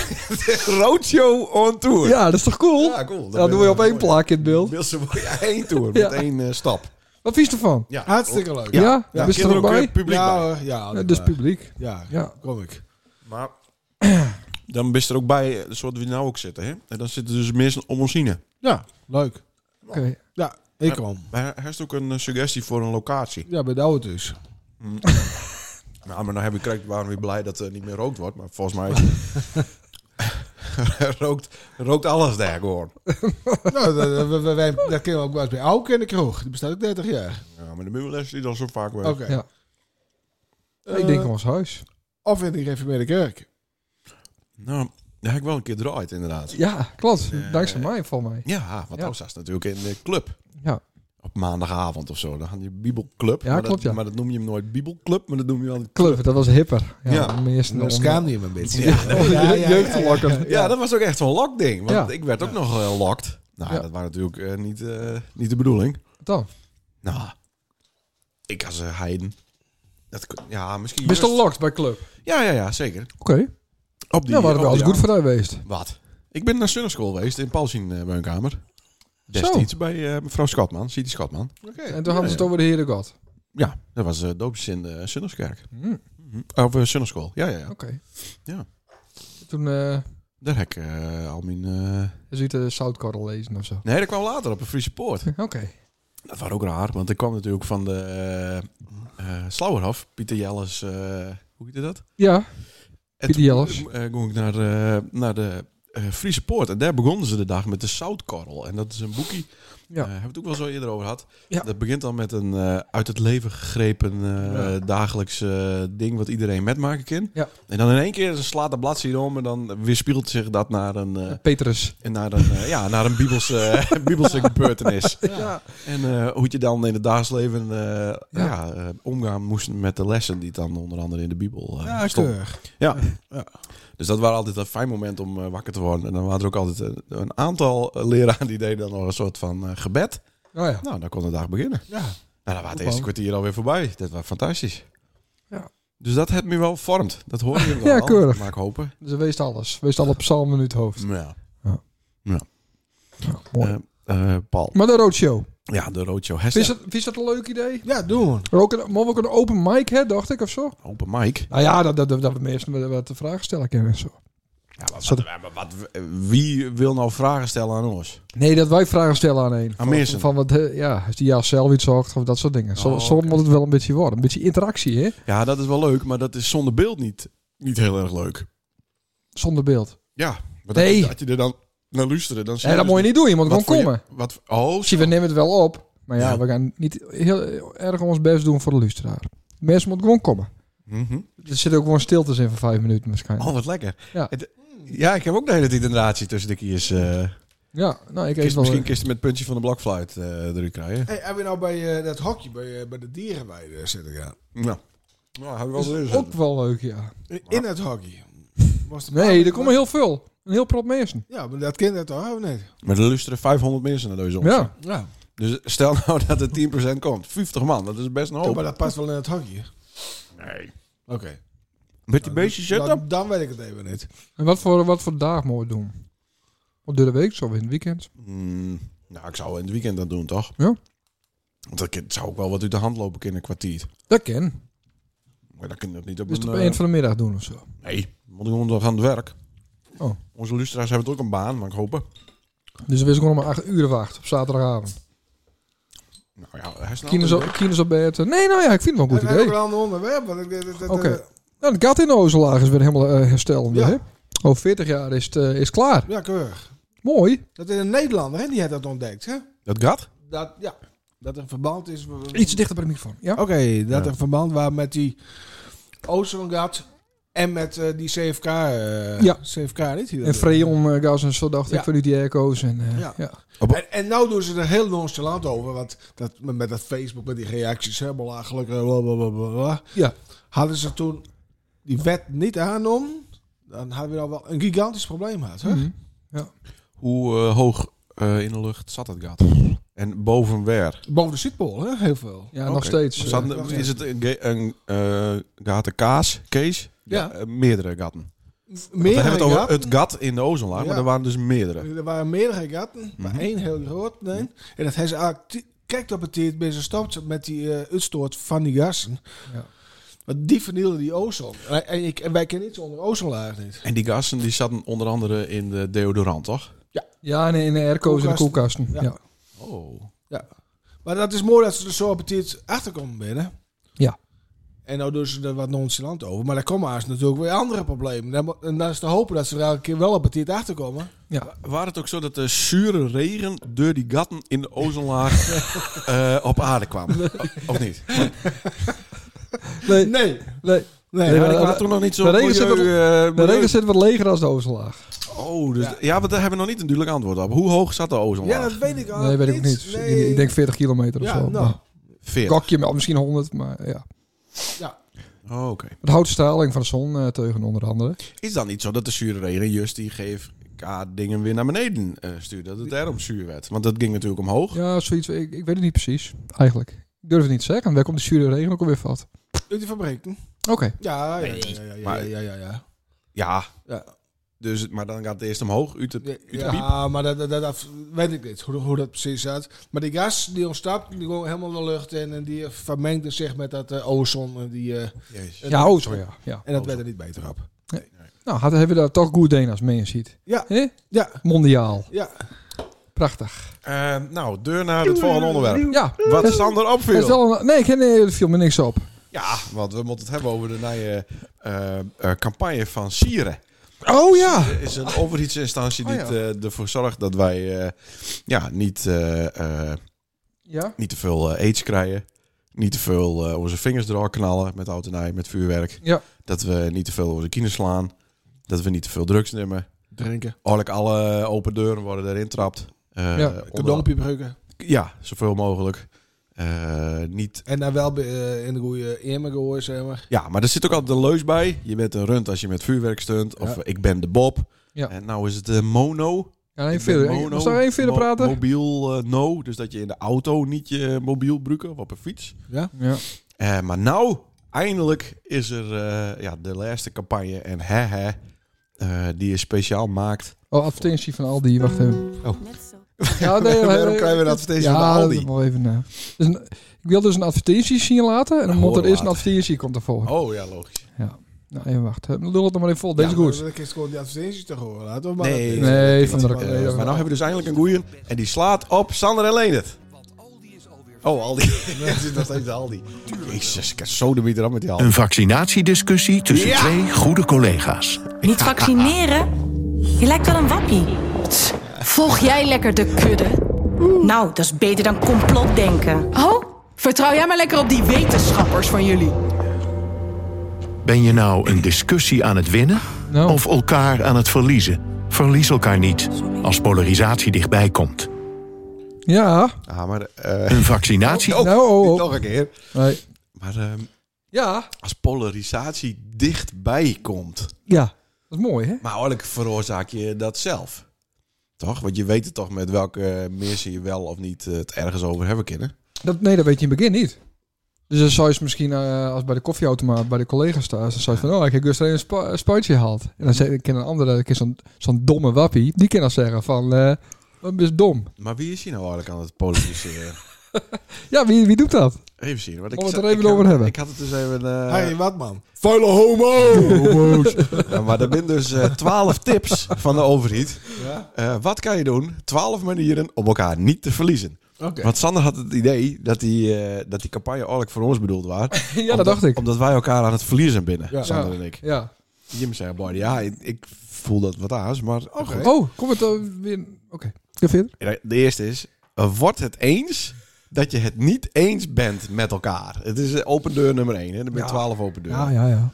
A: Roadshow on tour.
D: Ja, dat is toch cool?
A: Ja, cool.
D: Dat, doen doe je op één plaak in het beeld.
A: Wilson voor ja, één tour,
D: Ja.
A: met één eh, stap.
D: Wat vies ervan?
A: Ja.
E: Hartstikke leuk.
D: Oh. Ja? ja. Wist je er
A: Kinderen
D: ook
A: ook
D: bij?
A: weer publiek
E: ja,
A: bij.
E: hoor, ja,
D: Ja,
E: dat
D: dus
E: waar.
D: publiek.
E: Ja,
D: Ja.
E: kom ik.
A: Maar dan bist er ook bij, eh, zoals we nou ook zitten. Hè? En dan zitten dus mensen om ons heen.
E: Ja, leuk.
D: Oké.
E: Ja, ik kwam.
A: Maar hij heeft ook een eh, suggestie voor een locatie.
E: Ja, bij de auto's.
A: Nou, maar dan heb ik krijg, waarom weer blij dat er niet meer rookt wordt. Maar volgens mij rookt, rookt alles daar gewoon.
E: nou, dat, dat, wij, dat kennen we ook wel eens bij Auken in de kroeg. Die bestaat ook 30 jaar.
A: Ja, maar de muurles die dan zo vaak weg.
E: Oké.
D: Ja.
E: Eh,
D: ik denk aan ons huis.
E: Of in de gereformeerde kerk.
A: Nou, daar heb ik wel een keer draait inderdaad.
D: Ja, klopt.
A: Eh,
D: Dankzij mij, volgens mij.
A: Ja, want
D: Ja.
A: dat was natuurlijk in de club.
D: Ja.
A: Op maandagavond of zo. Dan had je Bibelclub.
D: Ja,
A: maar
D: klopt,
A: dat,
D: ja.
A: Maar dat noem je hem nooit Bibelclub, maar dat noem je wel...
D: Club, dat was hipper. Ja,
A: Ja.
D: de eerste
E: Dan
D: onder-
E: schaamde je me een beetje.
A: Ja,
E: ja, ja,
D: Jeugdlokken.
A: Ja, dat was ook echt zo'n lokding. Want
D: Ja.
A: ik werd ook nog eh, lokt. Nou,
D: Ja.
A: dat was natuurlijk eh, niet, eh, niet de bedoeling.
D: Dan.
A: Nou, ik als eh, Heiden. Dat, k- ja, misschien.
D: Bist
A: juist.
D: al locked bij club.
A: Ja, ja, ja, zeker.
D: Oké.
A: Op die,
D: Ja, maar
A: op
D: we alles
A: die
D: goed
A: avond.
D: voor geweest.
A: Wat? Ik ben naar Sunnerschool geweest in Paulsien eh, bij een kamer. Destijds bij eh, mevrouw Schatman, City Schatman.
D: En toen hadden ze het over de Heere God.
A: Ja, dat was eh doopjes in de Sunnerskerk.
D: Hm, Oké.
A: Mhm. Of eh, Sunnerschool, ja, ja, ja. Ja.
D: Toen eh
A: Daar heb ik eh, al mijn... eh,
D: is het de zoutkorrel lezen of zo.
A: Nee, dat kwam later op een Friese poort.
D: Oké.
A: Dat was ook raar, want ik kwam natuurlijk van de eh, eh, Slauerhof. Pieter Jelles, eh, hoe heette dat?
D: Ja.
A: En
D: Pieter
A: toen,
D: Jelles.
A: eh, ging ik naar, eh, naar de eh, Friese Poort. En daar begonnen ze de dag met de zoutkorrel. En dat is een boekje. Ja.
D: Ja.
A: hebben we het ook wel zo eerder over gehad.
D: Ja.
A: Dat begint dan met een eh, uit het leven gegrepen eh,
D: Ja.
A: dagelijks eh, ding wat iedereen metmaken kan.
D: Ja.
A: En dan in één keer slaat de bladzijde om en dan weerspiegelt zich dat naar een, eh,
D: Petrus.
A: en naar een, eh, ja, naar een bibelse, eh, bibelse gebeurtenis.
D: Ja.
A: En eh, hoe je dan in het dagelijks leven eh,
D: Ja.
A: ja, eh, omgaan moest met de lessen die dan onder andere in de Bijbel eh
E: Ja,
A: stonden.
E: keurig.
A: Ja. Dus dat waren altijd een fijn moment om eh, wakker te worden. En dan waren er ook altijd een, een aantal eh, leraren die deden dan nog een soort van eh, gebed.
D: Oh ja.
A: Nou, dan kon de dag beginnen.
E: Ja.
A: Nou, dan was het
D: Opa.
A: eerste kwartier alweer voorbij. Dat was fantastisch.
D: Ja.
A: Dus dat heeft me wel vormd. Dat hoor je wel.
D: Ja, keurig.
A: Maak hopen.
D: Dus wees alles. Wees alle psalmen in het hoofd.
A: Ja.
D: Nou, mooi.
A: Eh, eh, Paul.
D: maar de roadshow.
A: Ja, de roadshow. Hashtag
D: Vind je dat, vind je dat een leuk idee?
E: Ja, doen we.
D: Maar ook een, maar ook een open mic, hè, dacht ik, of zo?
A: open mic.
D: Nou ja, dat, dat, dat, dat we meestal wat- wat de vragen stellen kunnen en zo.
A: Ja, maar wat, maar wat, wie wil nou vragen stellen aan ons?
D: Nee, dat wij vragen stellen aan een.
A: Aan
D: Van-
A: mensen.
D: Van wat, eh, ja, als die ja zelf iets zocht of dat soort dingen. Zo,
A: Oh,
D: zo
A: oké.
D: moet het wel een beetje worden. Een beetje interactie, hè?
A: Ja, dat is wel leuk, maar dat is zonder beeld niet, niet heel erg leuk.
D: Zonder beeld.
A: Ja, maar dat,
D: Nee.
A: dat je er dan naar luisteren, dan zie
D: Nee, dat
A: dus
D: moet je niet doen. Je moet
A: wat
D: gewoon
A: voor je-
D: komen.
A: wat, oh,
D: Zie, we nemen het wel op. Maar ja,
A: Ja.
D: we gaan niet heel erg ons best doen voor de luisteraar. Mensen moeten gewoon komen.
A: Mhm.
D: Er zitten ook gewoon stiltes in van vijf minuten waarschijnlijk.
A: Oh, wat lekker.
D: Ja.
A: Het- ja, ik heb ook de hele tijd een relatie tussen de kiers. eh
D: Ja, nou, ik
A: kist,
D: eet wel...
A: misschien kisten met puntje van de blokfluit eh eruit krijgen.
E: Hey, hebben we nou bij eh, dat hokje bij, eh, bij de dierenweide zitten gaan?
A: Nou, nou hebben we
D: Dat
A: wel
D: is
A: eens
D: ook wel leuk, ja.
E: In- In het hokje. Was de
D: Nee, er komen heel veel. Een heel prop mensen.
E: Ja, maar dat kind dat toch of niet?
A: Maar er luisteren 500 mensen naar deze ons.
D: Ja.
E: Ja.
A: Dus stel nou dat er 10% komt. 50 man, dat is best een
E: Ja,
A: hoop.
E: maar dat past wel in het hokje. Nee. Oké.
A: Met
E: Nou,
A: beestjes
E: dan, dan weet ik het even niet.
D: En wat voor, wat voor dag moeten we doen? Op de week, zo in het weekend.
A: Mm, nou, ik zou in het weekend dat doen, toch?
D: Ja.
A: Want dat kind- zou ook wel wat uit de hand lopen in een kwartier.
D: Dat kan.
A: Maar dat kan dat niet op
D: Dus het
A: een...
D: op
A: eh,
D: één van de middag doen of zo.
A: nee, moet ik gewoon nog aan het werk.
D: Oh.
A: Onze lustra's hebben toch ook een baan, mag ik hopen.
D: Dus we is gewoon om acht uur wacht op zaterdagavond.
A: Nou ja, hij is nou
D: Kinders op, kinders op bed. Nee, nou ja, ik vind het wel een
E: Goed
D: goed
E: we hebben
D: idee.
E: wel een onderwerp. Want ik, dat, dat- dat-
D: Oké. Nou, het gat in de ozelaag is weer helemaal eh, herstellende,
E: Ja.
D: hè? Over 40 jaar is het eh, is het klaar.
E: ja, keurig.
D: Mooi.
E: Dat is een Nederlander, hè? Die heeft dat ontdekt, hè?
A: Dat gaat?
E: Dat, ja. Dat er verband is...
D: Iets dichter bij de microfoon. Ja.
E: Oké, dat
A: Ja.
E: er verband waar met die Oosterngat en met eh, die CFK. eh,
D: Ja.
E: CFK, niet? Die dat
D: En
E: doen.
D: Freon eh, gas en zo dacht
E: Ja.
D: ik vanuit die airco's. En, eh,
E: Ja.
D: ja.
E: En, en nou doen ze er heel nonchalant over. Want dat, met met dat Facebook, met die reacties, helemaal belachelijk. eh, blablabla.
D: Ja.
E: Hadden ze toen die wet niet aangenomen, dan hadden we al wel een gigantisch probleem gehad. Hè?
D: Mhm.
A: Hoe eh, hoog eh, in de lucht zat dat gat? En boven waar?
E: Boven de Zuidpool, hè? heel veel.
D: ja
A: Oké.
D: nog steeds. eh,
A: Zat- is het een, ge- een eh, gaten kaas, Kees?
E: Ja.
A: eh, meerdere gaten. We
E: Meer
A: hebben het over het gat in de ozonlaag, maar
E: Ja.
A: er waren dus meerdere.
E: Er waren meerdere gaten, maar
A: Mhm.
E: één heel groot. Nee. En dat heeft ze eigenlijk ti- kijkt op het tijd bij ze stopt met die eh, uitstoot van die gassen.
D: Ja.
E: Want die vernielden die ozon. En, en ik, en wij kennen iets onder ozonlaag niet.
A: En die gassen die zaten onder andere in de deodorant, toch?
D: ja, en in de airco's en de koelkasten.
E: Ja.
D: Ja.
A: Oh.
E: Maar dat is mooi dat ze er zo op het tijd achter komen binnen.
D: Ja.
E: En nou doen ze er wat nonchalant over. Maar daar komen haast natuurlijk weer andere problemen. Dan mo- En dan is te hopen dat ze er elke keer wel op het tijd achter komen.
A: Waar het ook zo dat de zure regen door die gatten in de ozonlaag eh, op aarde kwam? Of niet?
D: Nee, nee.
E: Nee. Nee.
D: Nee,
A: Ja,
D: maar
A: dat
D: de-
A: was toen nog niet zo
D: de regen zit
A: milieu, eh,
D: De
A: milieu-
D: regen zit wat leger als de ozelaag.
A: Oh, dus ja. want daar hebben we nog niet een duidelijk antwoord op. Hoe hoog zat de
E: Ja,
A: ozonlaag?
E: dat weet ik al.
D: Nee, weet ik ook niet. Ik denk 40 kilometer of
E: Ja,
D: zo.
E: nou.
D: Nou,
A: Veer.
D: Gokje, maar misschien 100, maar ja.
A: Oh, Oké.
D: Het houdt straling van de zon eh, tegen onder andere.
A: Is dan niet zo dat de zure regen juist die geeft WK-dingen weer naar beneden eh stuurde. Dat het daarom zuur werd. Want dat ging natuurlijk omhoog.
D: Ja, zoiets. Ik, ik weet het niet precies, eigenlijk. Ik durf het niet te zeggen. Daar komt de zure regen ook alweer vast.
E: Doet hij verbreken?
D: Oké.
E: Ja, ja, ja, ja, ja, ja,
A: Maar-
E: ja, ja, ja.
A: Ja.
E: Ja.
A: Dus, maar dan gaat het eerst omhoog. Uit het, uit de
E: Ja,
A: piep.
E: maar dat, dat, dat weet ik niet hoe, hoe dat precies zat. Maar die gas die ontstapt, die gewoon helemaal de lucht in en die vermengde zich met dat eh, ozon. En, die, eh,
A: Jezus.
E: en
D: Ja,
E: dat-
D: oh zo ja. ja.
E: En dat werd er niet beter op.
D: Nou, hadden- hebben we daar toch goed als mee ziet.
E: Ja.
D: Hè?
E: Ja,
D: Mondiaal.
E: ja.
D: Prachtig.
A: Eh, nou, deur naar het volgende onderwerp.
D: Ja.
A: Wat
D: Dat-
A: Sander
D: dat is
A: opviel.
D: wel een- nee, ik nee, er viel me niks op.
A: Ja, want we moeten het hebben over de nieuwe eh, eh, campagne van Sieren.
D: Oh ja.
A: Er is een overheidsinstantie die
D: Oh, ja.
A: het, eh, ervoor zorgt dat wij eh, ja, niet, eh, eh,
D: Ja.
A: niet te veel eh, aids krijgen. Niet te veel eh, onze vingers eraf knallen met oud en ei, met vuurwerk.
D: Ja.
A: Dat we niet te veel onze kines slaan. Dat we niet te veel drugs nemen.
E: Drinken.
A: Eigenlijk alle open deuren worden erin trapt. Eh,
D: Ja,
A: onder-
E: Cadeaupje gebruiken.
A: Ja, zoveel mogelijk. Eh, niet,
E: En dan wel eh, in de goede emmer gooien, zeg maar.
A: ja, maar er zit ook altijd een leus bij. Je bent een runt als je met vuurwerk stunt. Of
E: Ja.
A: ik ben de Bob.
D: Ja.
A: En nou is het eh, mono.
D: Ja,
A: Ik
D: één
A: ben
D: verder. Ik-
A: mono,
D: Moest daar één verder
A: mo-
D: praten?
A: Mobiel eh, no, dus dat je in de auto niet je mobiel gebruiken of op een fiets.
D: Ja.
A: Eh, maar nou, eindelijk is er eh, ja, de laatste campagne en hehe, eh die je speciaal maakt.
D: Oh, advertentie van Aldi. Wacht even.
F: Net zo.
D: Ja, nee,
A: Oh.
D: eh,
A: Waarom krijgen we een advertentie
D: ja,
A: van Aldi?
D: dat wel even na. Dus een- ik wil dus een advertentie zien laten. En dan
A: Nou,
D: moet er
A: horen
D: eerst een
A: later.
D: advertentie komt ervoor.
A: Oh ja, logisch.
D: Nou, even wachten. Lul het nog maar even vol. Deze is goed.
E: Dan kun je gewoon die advertenties te horen laten. Maar
A: Nee.
E: dat-
D: Nee,
E: dat-
D: van
E: dat-
D: de-
E: dat-
A: Eh,
D: dat-
A: maar nou hebben we dus eindelijk een goeie. En die slaat op Sander en Leendert. Oh, Aldi. Het is nog steeds de Aldi. Jezus, ik heb zo de bieden met die Aldi.
G: Een vaccinatiediscussie tussen
A: Ja!
G: twee goede collega's.
F: Niet vaccineren? Je lijkt wel een wappie. Tss, Volg jij lekker de kudde? Nou, dat is beter dan complotdenken.
H: Oh, vertrouw jij maar lekker op die wetenschappers van jullie.
G: Ben je nou een discussie aan het winnen
D: Nou.
G: of elkaar aan het verliezen? Verlies elkaar niet als polarisatie dichtbij komt.
D: Ja.
A: Ah, maar... eh,
G: Een vaccinatie.
A: Oh,
D: Nou, oh, oh.
A: Nog een keer.
D: Nee.
A: Maar ehm,
D: Ja.
A: als polarisatie dichtbij komt...
D: Ja. Dat is mooi, hè?
A: Maar eigenlijk veroorzaak je dat zelf. Toch? Want je weet het toch met welke eh, mensen je wel of niet eh, het ergens over hebben kunnen.
D: Dat, nee, dat weet je in het begin niet. Dus dan zou je misschien, eh, als bij de koffieautomaat bij de collega's thuis, dan zou je van, oh, ik heb dus een spa- een spuitje gehaald. En
A: Mhm.
D: dan zeg ik ken een andere, ik ken zo'n zo'n domme wappie, die kan dan zeggen van, eh wat is dom.
A: Maar wie is hier nou eigenlijk aan het polariseren?
D: Ja, wie, wie doet dat?
A: Even zien. Want ik
D: Moeten we het
A: zat-
D: er even
A: ik
D: over
A: had-
D: hebben?
A: Ik had het dus even... eh,
E: Hey, wat man? Vuile homo!
A: Ja, maar er zijn dus twaalf tips van de overheid. Eh, wat kan je doen? Twaalf manieren om elkaar niet te verliezen.
E: Oké.
A: Want Sander had het idee dat die, eh, dat die campagne eigenlijk voor ons bedoeld was. ja,
D: Ja, dat dacht ik.
A: Omdat wij elkaar aan het verliezen binnen,
E: Ja.
A: Sander en ik.
D: Ja.
A: Jim zei, boy, ja, ik, ik voel dat wat aans, maar... Goed.
D: Oh, kom het eh, weer... Oké, Ga verder.
A: De eerste is, eh, wordt het eens dat je het niet eens bent met elkaar? Het is eh, open deur nummer één, hè? Er zijn
D: Ja.
A: twaalf open deuren.
D: Ja, ja, ja.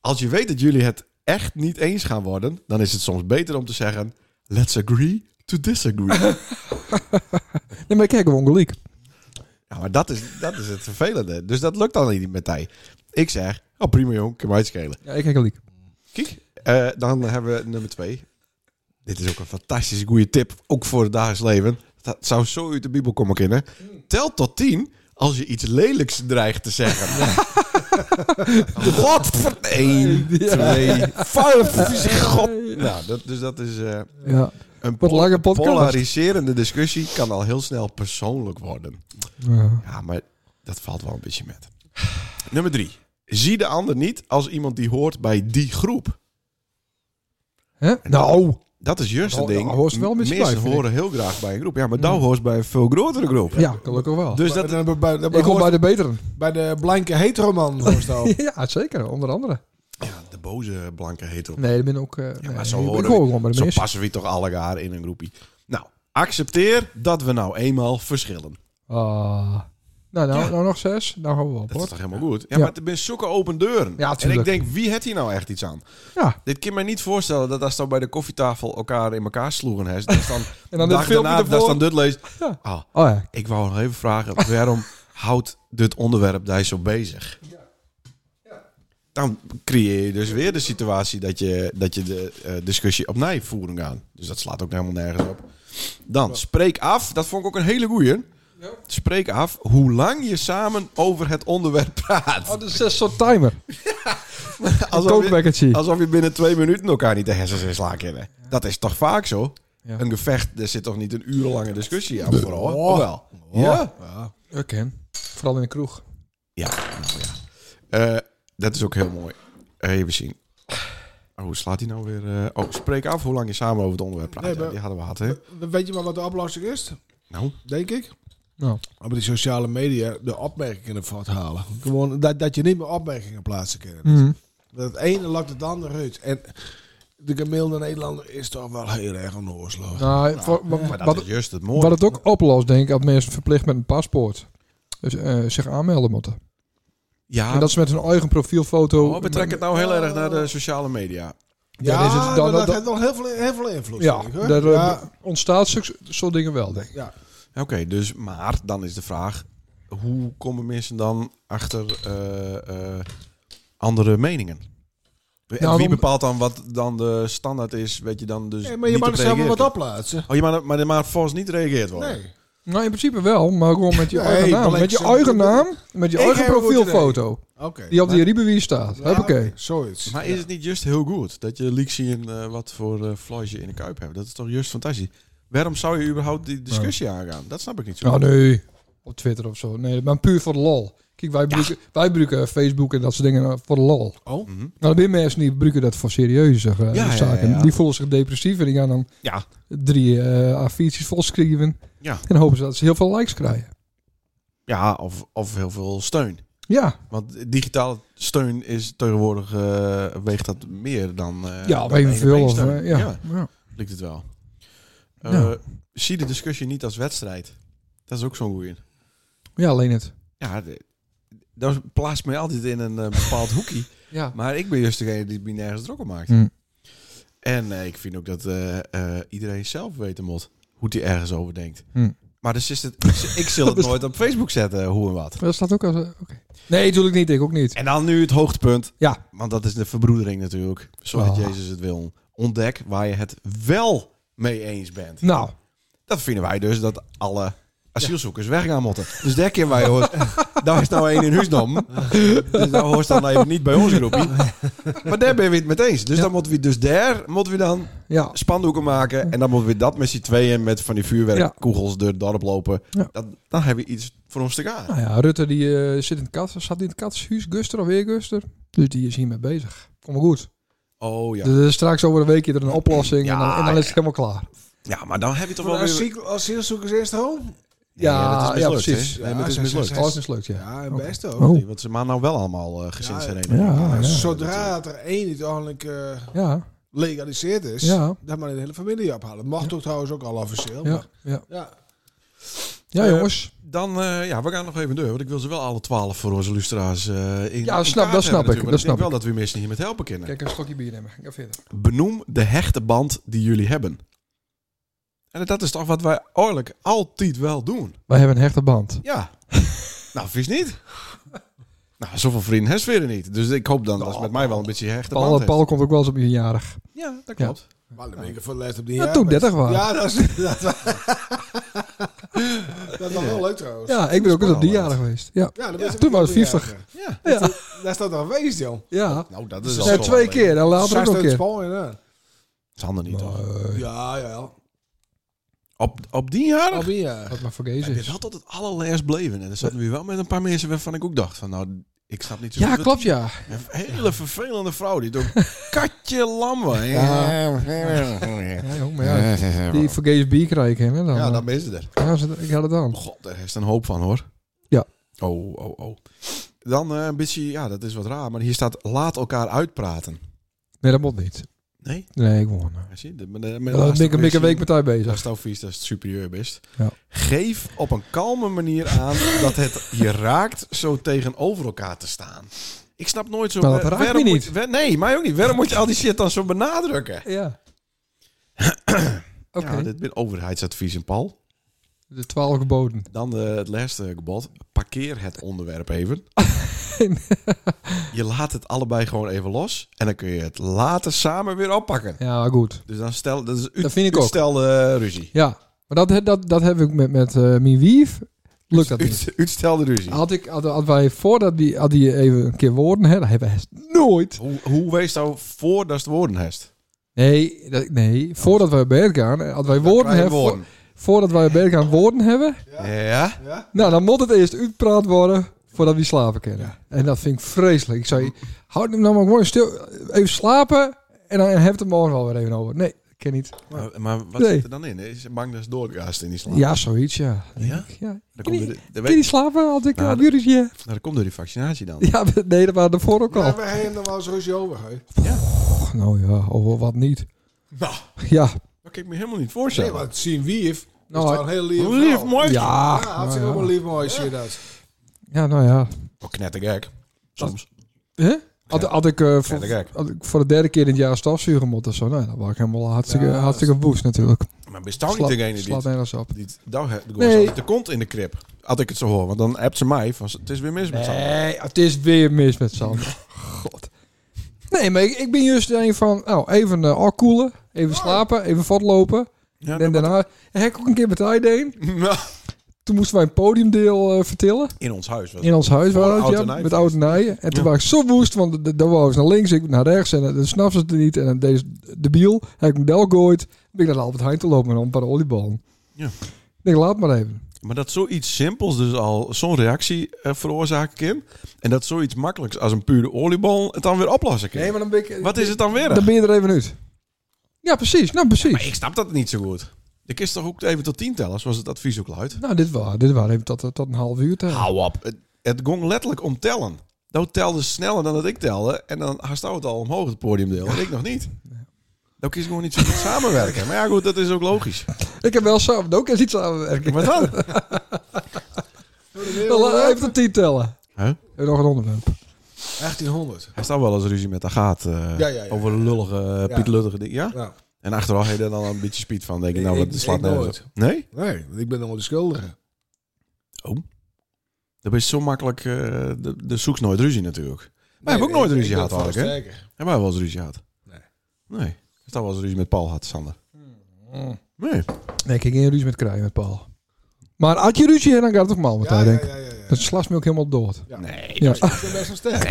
A: Als je weet dat jullie het echt niet eens gaan worden, dan is het soms beter om te zeggen: Let's agree to disagree.
D: Nee, maar ik kijk gewoon gelijk.
A: ja, maar dat is, dat is het vervelende. Dus dat lukt dan niet met hij. Ik zeg: Oh, prima jong, kan mij het schelen.
D: Ja, ik kijk gelijk.
A: Kijk, eh, dan hebben we nummer twee. Dit is ook een fantastisch goede tip, ook voor het dagelijks leven. Dat zou zo uit de Bijbel komen kennen. Tel tot tien als je iets lelijks dreigt te zeggen. God, één, twee, vijf, god. Nou, dat, dus dat is... eh,
D: Ja.
A: Een
D: Wat
A: pol-
D: lange podcast.
A: polariserende discussie kan al heel snel persoonlijk worden.
D: Ja.
A: Ja, maar dat valt wel een beetje met. Nummer drie. Zie de ander niet als iemand die hoort bij die groep.
D: Hè? Nou.
A: Dat is juist een
D: Nou,
A: ding.
D: daar hoort ze wel een beetje
A: Mensen
D: bij, vind ik. Mm.
A: horen heel graag bij een groep. Ja, maar daar hoort bij een veel grotere groep.
D: Ja, gelukkig wel.
A: Dus
E: dat,
A: dat...
E: dan, dan, dan,
D: ik kom bij de beteren.
E: bij de blanke heteroman. hoor je al.
D: Ja, zeker. Onder andere.
A: Ja, de boze blanke heet op.
D: Nee, dat ben ik ook... eh,
A: Ja, maar
D: nee,
A: zo,
D: ik
A: horen
D: hoor
A: we-
D: gewoon bij de
A: zo
D: mensen.
A: passen we toch alle elkaar in een groepie. Nou, accepteer dat we nou eenmaal verschillen.
D: Ah. Nou, nou, nou nog zes. Nou houden we op,
A: Dat is
D: hoor.
A: toch helemaal goed? Ja,
D: Ja.
A: maar het zijn zulke open deuren.
D: Ja,
A: en ik
D: tuurlijk.
A: denk, wie heeft hier nou echt iets aan?
D: Ja.
A: Dit kan me niet voorstellen dat als dan bij de koffietafel elkaar in elkaar sloegen. Hè, dat is dan
D: En dan dit
A: dag
D: filmpje
A: daarna, dat is
D: ervoor.
A: dan dit leest.
D: Ja.
A: Ah,
D: Oh ja.
A: ik wou nog even vragen, waarom houdt dit onderwerp daar zo bezig? dan creëer je dus weer de situatie dat je, dat je de eh, discussie op nijvoering aan. Dus dat slaat ook helemaal nergens op. Dan spreek af, dat vond ik ook een hele goeie. Spreek af hoe lang je samen over het onderwerp praat.
D: Oh, dus een soort timer.
A: je,
D: kookbekkertje.
A: alsof je binnen twee minuten elkaar niet de hersens in slaan kennen. Dat is toch vaak zo?
D: Ja.
A: Een gevecht, er zit toch niet een urenlange discussie aan vooral? Oh. Wel. Ja.
D: Oké. Vooral in de kroeg.
A: Ja, nou ja. Eh, dat is ook heel mooi. Even zien. Oh, hoe slaat hij nou weer? eh, oh, spreek af hoe lang je samen over het onderwerp praat.
E: Nee,
A: Ja,
E: maar-
A: die hadden we gehad, hè?
E: Weet je maar wat de oplossing is?
A: Nou,
E: Denk ik.
D: Nou.
E: Op die sociale media de opmerkingen ervan te halen. Gewoon dat, dat je niet meer opmerkingen plaatsen kan.
D: Mhm.
E: Dat het ene lakt het andere uit. En de gemiddelde Nederlander is toch wel heel erg onnoosloos.
D: Nou, voor- wa-
A: maar dat
D: wat,
A: is juist het mooie.
D: wat het ook oplost, denk ik, dat mensen verplicht met een paspoort dus, eh, zich aanmelden moeten.
A: ja,
D: en dat ze met hun eigen profielfoto...
A: oh, betrek het nou heel erg naar de sociale media.
D: Ja, is het dan-
E: maar dat,
D: dat-
E: heeft wel heel veel, heel veel invloed.
D: Ja,
E: denk ik, hoor.
D: daar eh,
E: ja.
D: ontstaat zulke soort dingen wel, denk ik.
A: Oké, dus maar dan is de vraag: hoe komen mensen dan achter eh, eh, andere meningen? En
D: Nou,
A: wie
D: dan-
A: bepaalt dan wat dan de standaard is? Weet je dan dus.
E: Nee, maar je
A: niet
E: mag
A: op
E: er zelf wel wat
A: reageren?
E: op plaatsen.
A: Oh, je mag, er- maar, maar volgens niet reageerd worden.
E: Nee.
D: Nou, in principe wel, maar gewoon met je
E: Nee,
D: eigen naam.
E: Blake
D: Met je
E: Shelton.
D: eigen naam, met je
E: Ik
D: eigen
E: heb een goed
D: profielfoto.
E: Oké. Nou,
D: Die op die Ribewier staat. Hoppakee.
E: Zoiets.
A: Maar is het niet juist heel goed dat je leaks zien eh, wat voor eh vlees je in de kuip hebt? Dat is toch juist fantastisch. Waarom zou je überhaupt die discussie aangaan? Dat snap ik niet zo.
D: Nou,
A: goed.
D: nee. Op Twitter of zo. Nee, maar puur voor de lol. Kijk, wij gebruiken, wij gebruiken Facebook en dat soort dingen voor de lol.
E: Oh.
D: Nou, er zijn mensen die gebruiken dat voor serieuze eh,
A: Mhm. ja, ja,
D: zaken.
A: ja.
D: Die voelen zich depressief en die gaan dan
A: Ja.
D: drie eh A4'tjes volschrijven.
A: Ja.
D: En dan hopen ze dat ze heel veel likes krijgen.
A: Ja, of, of heel veel steun.
D: Ja,
A: Want digitale steun is tegenwoordig eh, weegt dat meer dan. eh,
D: ja,
A: dan
D: of even veel. Of,
A: steun.
D: eh, ja.
A: ja,
D: Ja.
A: lijkt het wel. Eh,
D: Ja.
A: Zie de discussie niet als wedstrijd. Dat is ook zo'n goeie.
D: Ja, alleen het.
A: Ja, de- dat plaatst mij altijd in een eh, bepaald hoekje.
D: Ja.
A: Maar ik ben juist degene die het me nergens druk om maakt.
D: Hm.
A: En eh, ik vind ook dat eh, eh, iedereen zelf weten moet hoe hij ergens over denkt.
D: Hm.
A: Maar dus is het, ik, ik zal het nooit op Facebook zetten, hoe en wat.
D: Maar dat staat ook als... eh, oké. Nee, natuurlijk niet. Ik ook niet.
A: En dan nu het hoogtepunt.
D: Ja.
A: Want dat is de verbroedering natuurlijk. Zodat
D: Oh.
A: Jezus het wil. Ontdek waar je het wel mee eens bent.
D: Nou,
A: Dat vinden wij dus dat alle asielzoekers weggaan moeten. Dus daar keer wij hoort. daar is nou één in huis nam. Dus daar hoort dan even niet bij onze groepie. Maar daar ben je het mee eens. Dus dan moeten we dus daar moeten we dan
D: ja.
A: spandoeken maken. En dan moeten we dat met z'n tweeën met van die vuurwerkkoegels door het dorp lopen.
D: Ja.
A: Dan, dan hebben we iets voor ons te gaan.
D: Nou ja, Rutte die eh, zit in het kat, zat in het katshuis, Guster of weer Guster. Dus die is hiermee bezig. Kom maar goed.
A: Oh ja.
D: Dus straks over een weekje er een oplossing en, dan,
A: Ja,
D: en dan
A: ja.
D: is het helemaal klaar.
A: Ja, maar dan heb je toch wel weer...
E: Asiel- Asielzoekers eerst home?
D: Ja,
A: dat is mislukt,
D: ja, precies.
A: hè? Nee, maar het is
E: Ja, ze- ze-
A: mislukt.
E: ze-
D: Oh, dat is mislukt, ja.
E: Ja, en
D: Oké.
E: best ook.
D: Oh.
A: Want ze maken nou wel allemaal eh gezinshereniging.
D: Ja, ja.
E: Zodra het er één uiteindelijk eh
D: Ja,
E: legaliseerd is,
D: Ja.
E: dan maar de hele familie ophalen. Mocht toch trouwens ook al officieel.
D: ja,
E: maar-
D: ja.
E: ja.
D: Ja,
A: Eh,
D: jongens.
A: Dan, eh, ja, we gaan nog even door. Want ik wil ze wel alle twaalf voor onze lustra's eh in
D: Ja,
A: in kaart
D: snap- dat snap
A: hebben
D: ik,
A: natuurlijk. Want
D: dat
A: ik
D: snap
A: denk wel dat we mensen hier met helpen kunnen.
D: Kijk, een stokje bier nemen. Ga verder.
A: Benoem de hechte band die jullie hebben. En dat is toch wat wij oorlijk altijd wel doen.
D: Wij hebben een hechte band.
A: Ja. nou, vies niet. Nou, zoveel vrienden heeft weer niet. Dus ik hoop dan dat ze met mij wel een beetje hechte band
D: Paul,
A: heeft.
D: Paul komt ook wel eens op je jarig.
A: Ja, dat
D: Ja.
A: klopt.
E: Maar dan ben ik er voor de lijst op die
D: Ja,
E: jaar
D: toen
E: best.
D: 30 waren.
E: Ja, dat is... Dat, wa- dat was wel leuk trouwens.
D: Ja, ik ben ook eens op die
A: Spannend.
D: jarig geweest. Ja,
E: Ja, dat
D: Ja,
E: was
D: toen was het 50.
A: Ja.
D: ja.
E: Daar staat nog geweest, joh.
D: ja.
A: Nou, dat is
D: Ja,
A: al zo
D: twee
A: lang geleden.
D: keer. En later ook nog een
E: Zesde in
D: keer.
E: Spanje, ja.
A: Dat is handig niet, toch?
D: eh,
E: Ja, ja.
A: Op, op die jaren?
E: Al die eh. jaar.
D: Wat maar vergezen
A: Dit
D: is.
A: had tot het allerlaatst bleven. En er zaten we wel met een paar mensen waarvan ik ook dacht van... Nou, ik snap niet zo
D: Ja,
A: goed.
D: klopt ja.
A: Een hele vervelende vrouw die door katje lam was.
D: Ja. Ja, jong, maar ja. Die vergezen bier krijgen. Hè, dan, eh,
A: Ja,
D: ja,
A: dan ben ze er.
D: ze- ik had het aan.
A: God, daar heeft een hoop van hoor.
D: Ja.
A: Oh, oh, oh. Dan eh, een beetje... Ja, dat is wat raar. Maar hier staat laat elkaar uitpraten.
D: Nee, dat moet niet.
A: Nee?
D: Nee, Oh, ik won.
A: Ja, Zie je? Met, met, met
D: Dan ben ik een beetje een week met haar bezig.
A: Als het vies, dat is het superieur best.
D: Ja.
A: Geef op een kalme manier aan dat het je raakt zo tegenover elkaar te staan. Ik snap nooit zo...
D: Maar dat
A: eh,
D: raakt
A: waarom
D: me
A: moet-
D: niet.
A: wa- nee, mij ook niet. Waarom moet je al die shit dan zo benadrukken?
D: Ja. Oké.
A: Ja, dit ben overheidsadvies in Paul.
D: De twaalf geboden.
A: Dan eh, het laatste gebod. Parkeer het onderwerp even.
D: zijn.
A: Je laat het allebei gewoon even los. En dan kun je het later samen weer oppakken.
D: Ja, maar goed.
A: Dus dan stel, dat is
D: Dat vind ik ook.
A: uitstelde ruzie.
D: Ja, maar dat, dat, dat heb ik met, met eh mijn wief. Lukt dat niet.
A: Uit, uitstelde ruzie.
D: Had, ik, had, had wij voordat die, had die even een keer woorden, hè, dat hebben we echt nooit.
A: Hoe, hoe wees nou voor dat het woorden heeft?
D: Nee, dat, nee voordat wij bij elkaar gaan, hadden wij woorden
A: krijg je
D: hebben.
A: woorden.
D: voor- voordat wij bij elkaar woorden hebben,
A: Ja.
D: nou dan moet het eerst uitpraat worden voordat we slapen kunnen. En dat vind ik vreselijk. Ik zei, houd hem nou maar gewoon stil, even slapen en dan hebben we het er morgen alweer even over. Nee, dat kan niet.
A: Maar, maar wat
D: Nee.
A: zit er dan in? Is bang dat ze doorgaast in die slaap?
D: Ja, zoiets, ja.
A: Ja?
D: ja.
A: Dan
D: Kun
A: komt er,
D: je
A: dan
D: kun je niet
A: weet,
D: slapen als ik
A: Nou,
D: nou,
A: dat-
D: een ja.
A: nou, dat komt door die vaccinatie dan.
D: Ja, nee, dat waren ervoor ook al.
E: Ja, we hebben er wel eens ruzie over. hè.
D: Och, nou ja, over wat niet.
E: Nou,
D: Ja,
A: Dat kan ik me helemaal niet voorstellen.
E: nee, want zien wie heeft.
D: Nou,
E: Nou, is toch een heel lief.
A: Hoe lief, mooi.
D: ja,
E: Ja,
D: nou
E: had ze
D: ja.
E: helemaal lief mooi, zie je dat.
D: ja, nou ja.
A: Oh, knettergek. Soms.
D: Hè? Had, had, ik, eh,
A: Ja, dat
D: voor,
A: kijk.
D: had ik voor de derde keer in het jaar stofzuigen moeten of zo, nou, dan was ik helemaal hartstikke,
E: Ja,
D: hartstikke woest natuurlijk.
A: Maar ben je toch niet
D: Slaat-
A: degene die...
D: slaat nergens op.
A: die nou, he-
D: Nee.
A: nee. de kont in de krip. Had ik het zo hoor. Want dan appt ze mij van het is weer mis met Sander.
D: Nee, het is weer mis met Sander. God. Nee, maar ik, ik ben juist een van, nou, even eh afkoelen, even slapen, even voortlopen.
A: Oh. Ja,
D: en daarna, en heb ik ook een keer met hij deed. Toen moesten wij een podiumdeel eh, vertillen.
A: In ons huis was
D: In ons huis
A: Voor
D: waren
A: Oud en
D: het, ja,
A: Nij
D: met
A: feest.
D: oud en Nij. En toen
A: Ja.
D: was ik zo woest, want d- d- dan wou ze naar links, ik naar rechts. En eh, dan snap ze het niet. En dan deed ze de biel, heb ik hem del gooit. ben ik naar de Albert Heijn te lopen met een paar olieballen.
A: Ja.
D: Ik denk, laat maar even.
A: Maar dat zoiets simpels dus al zo'n reactie eh, veroorzaken kan. En dat zoiets makkelijks als een pure oliebol het dan weer oplossen kan.
D: Nee, maar dan ben ik...
A: Wat is het dan weer?
D: Dan ben je er even uit. Ja, precies. Nou, precies.
A: Maar ik snap dat niet zo goed. Ik is toch ook even tot tien tellen, zoals het advies ook luidt.
D: Nou, dit waren dit waren even tot, eh, tot een half uur. Te...
A: Hou op. Het, het ging letterlijk om tellen. Dat telde sneller dan dat ik telde. En dan haast het al omhoog het podiumdeel. En ik nog niet. Dan kies ik gewoon niet zo goed samenwerken. Maar ja, goed, dat is ook logisch.
D: Ik heb wel zelf ook eens iets samenwerking.
A: Maar dan?
D: Dan Nou, laat even tot tien tellen.
A: Huh?
D: Heb je nog een onderwerp?
E: 1800.
A: Hij staat wel eens ruzie met Agaat eh
E: ja, ja, ja.
A: over lullige, eh,
E: Ja.
A: Piet Luttige dingen. Ja?
E: Nou,
A: En achteraf heb je er dan al een beetje speed van. Denk ik,
E: Ik-
A: nou,
E: ik-
A: dat slaat
E: ik
A: nergens
E: nooit.
A: op. Nee?
E: nee, want ik ben allemaal de schuldige.
A: Dan ben je zo makkelijk... eh de, de zoeks nooit ruzie natuurlijk. Wij hebben ook nooit ruzie gehad eigenlijk,
E: eh,
A: hè? Hebben wij wel eens ruzie gehad?
E: Nee.
A: Nee. Is dat wel eens ruzie met Paul had, Sander? Nee.
D: Nee, ik ging geen ruzie met krijgen met Paul. Maar als je ruzie hebt, dan gaat het toch mal met
E: Ja,
D: haar,
E: ja,
D: denk
E: ja,
D: ik.
E: ja, ja, ja.
D: Dat slaat me ook helemaal dood.
A: Nee.
D: Ja.
E: Ik ben best wel sterk.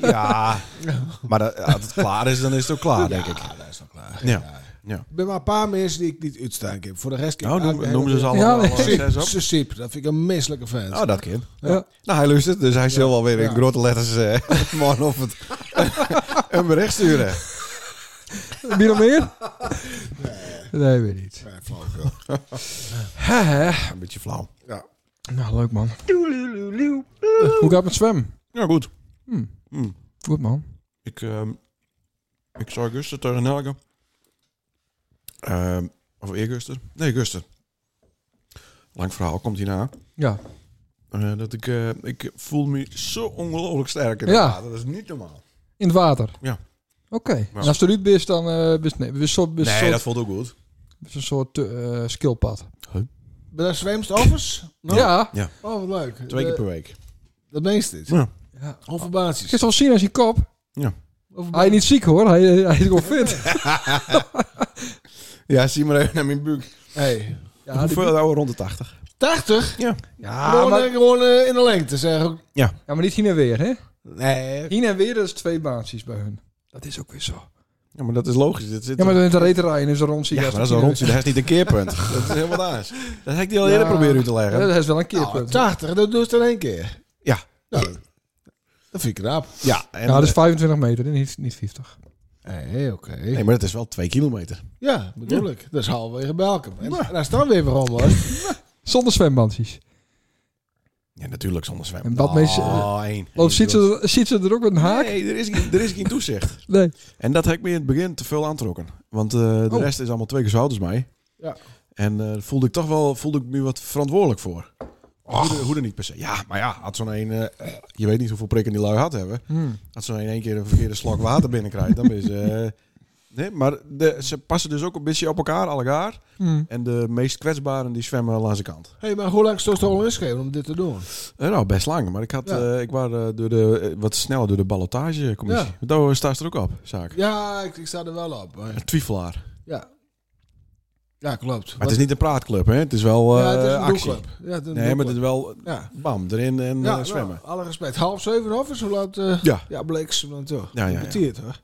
A: Ja. nou, Maar dat, als het klaar is, dan is het ook klaar, denk ik.
E: Ja, dat is wel klaar.
A: Ja.
E: Er zijn maar een paar mensen die ik niet uitstaan heb. Voor de rest...
A: Nou, noem, noem ze ze allemaal
D: Ja,
A: wel, eh,
E: Siep,
A: zes op.
E: ze Siep, dat vind ik een misselijke fan.
A: Oh, dat kind.
D: Ja.
A: Nou, hij luistert, dus hij zal wel weer in
E: Ja.
A: grote letters eh man of het een bericht sturen.
D: Heb je nog meer? Nee, weer niet.
E: Ja, flauwekul.
D: Hè, hè.
A: Een beetje flauw.
E: ja.
D: Nou, leuk man. Eh, Hoe gaat het met zwemmen?
A: Ja, goed.
D: Goed man.
A: Ik, ehm ik zou Guster tegen Helge. Ehm, of eerguster? Nee, Guster. Lang verhaal, komt hierna.
D: Ja.
A: Eh dat ik, eh, ik voel me zo ongelooflijk sterk in
D: Ja.
A: ja. Dat is niet normaal.
D: In het water?
A: Ja.
D: Oké. En als je eruit bent, dan eh bist nee, bist soort, bist soort,
A: voelt ook goed.
D: bist een soort eh, skillpad.
E: Ben je zwemstoffers? Nou,
D: Ja.
E: Oh, wat leuk.
A: Twee keer
E: De-
A: per week.
E: Dat meest dit.
A: Ja.
D: ja.
E: Conformaties.
D: Ik heb het al zien als je kop.
A: Ja.
D: Hij is niet ziek hoor, hij, hij is gewoon fit.
A: Ja, zie maar even naar mijn
D: Ah,
A: buik.
E: Hey.
D: Ja,
A: Hoeveel ouder rond de 80?
E: 80?
A: Ja.
E: gewoon
D: ja, maar,
E: eh, gewoon eh, in de lengte, zeg ik.
D: ja, maar niet heen en weer hè.
E: Nee.
D: Heen en weer, dat is twee baantjes bij hun. Dat is ook weer zo.
A: Ja, maar dat is logisch. Dat zit
D: Ja, maar in de reeterij is een rondje.
A: ja, maar dat is een rondje. Dat is niet een keerpunt. dat is helemaal anders. Dat heb ik die al
D: Ja.
A: eerder proberen u te leggen.
D: Dat is wel een
A: Ah,
D: keerpunt.
E: Nou, 80, dat doe je in één keer.
A: Ja.
E: Nou, dat vind ik knap.
A: Ja, en,
D: ja, dat is
A: eh,
D: 25 meter, niet, niet 50.
E: Hé, oké.
A: nee, maar dat is wel twee kilometer.
E: Ja, bedoel ik. Dat is halverwege Belkum. En daar staan we even rond, hoor.
D: Zonder zwembandjes.
A: Ja, natuurlijk zonder zwemmen.
D: En wat mensen-
A: één.
D: Loopt, ziet, ze, ziet ze er ook met een haak?
A: Nee, er is, geen- er is geen toezicht.
D: Nee.
A: En dat heb ik me in het begin te veel aantrokken. Want eh, de
D: Oh.
A: rest is allemaal twee keer zo oud als mij.
E: Ja.
A: En eh, voelde ik toch wel voelde ik me wat verantwoordelijk voor. Hoe er- Hoe er niet per se. Ja, maar ja, had zo'n een. eh, je
E: Hmm.
A: weet niet hoeveel prikken die lui had hebben. Als zo'n een één keer een verkeerde slok water binnenkrijgt, dan ben je. eh, Nee, maar de, ze passen dus ook een beetje op elkaar, allegaar.
E: Hmm.
D: Hm.
A: En de meest kwetsbaren die zwemmen langs de kant.
E: hey, maar hoe lang stond het al ingeschreven om dit te doen?
A: Eh, nou, best lang. Maar ik, had,
E: Ja.
A: eh, ik was eh, door de, eh, wat sneller door de ballotagecommissie.
E: Ja.
A: Daar staat ze er ook op, zaak.
E: Ja, ik, ik sta er wel op. maar-
A: Een twijfelaar. Maar
E: Ja. Ja, klopt.
A: het is niet een praatclub, hè? Het is wel eh
E: ja, het is een
A: actie.
E: doelclub. Ja, het is een
A: Nee, maar het
E: doelclub.
A: is wel
E: Ja.
A: bam, erin en eh,
E: Ja, nou,
A: zwemmen.
E: alle respect. Half zeven of zo laat. eh,
A: Ja.
E: Ja, bleek ze dan toch.
A: Ja, ja, ja.
E: Betiert, hoor.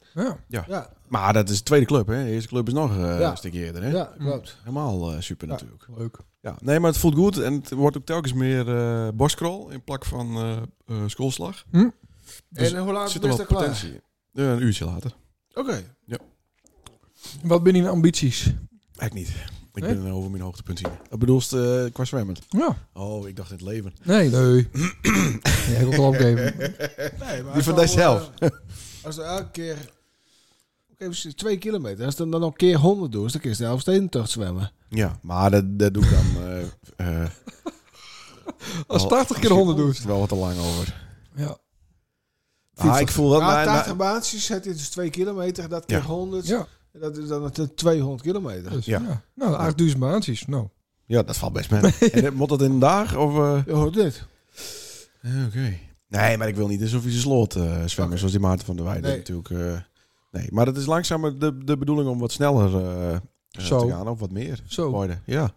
D: Ja.
E: Ja,
A: Maar dat is de tweede club, hè? De eerste club is nog eh,
E: Ja.
A: een stukje eerder, hè?
E: ja, klopt.
A: Helemaal eh, super
E: Ja.
A: natuurlijk.
D: Leuk.
A: Ja, nee, maar het voelt goed en het wordt ook telkens meer eh borstkrol in plak van eh eh, schoolslag. Dus
E: en eh, hoe laat
A: Zit
E: is
A: er
E: Ah, het
A: wel
E: klaar?
A: potentie in. Eh, een uurtje later.
E: Oké.
D: Wat ben je nou ambities?
A: Eigenlijk niet. Ik
D: Nee?
A: ben eh, over mijn hoogtepunt hier. Dat bedoelst eh, qua zwemmen?
D: Ja.
A: Oh, ik dacht in het leven.
D: Nee. Nee. ja, ik wil het al opgeven.
E: Nee, maar
A: Die van
E: als dan,
A: dijzelf.
E: eh, Als er elke keer... Oké, precies, twee kilometer. Als dan dan nog een keer honderd doet, dan kun je de Elfstedentocht zwemmen.
A: Ja, maar dat, dat doe ik dan... eh, eh,
D: Als
A: wel-
D: 80 keer 100
A: is
D: doet.
A: het wel wat te lang over.
D: Ja.
A: Ah, ik voel dat...
E: na
A: mijn- mijn-
E: 80 baantjes zet je dus twee kilometer, dat keer
A: Ja.
E: 100.
D: Ja.
E: Dat is dan het, eh, 200 kilometer.
D: Dus,
A: Ja.
D: ja. Nou, 8000 maandjes. Nou.
A: ja, dat valt best mee. en, eh, moet dat in een dag of... eh?
E: Je hoort dit.
A: Eh, Oké. Nee, maar ik wil niet alsof je ze sloot eh, zwemmen,
E: Oké.
A: zoals die Maarten van der Weijden
E: Nee.
A: natuurlijk. eh, nee, maar het is langzamer de, de bedoeling om wat sneller eh, eh,
D: Zo. Oh.
A: te gaan of wat meer.
D: Zo.
A: Worden. Ja.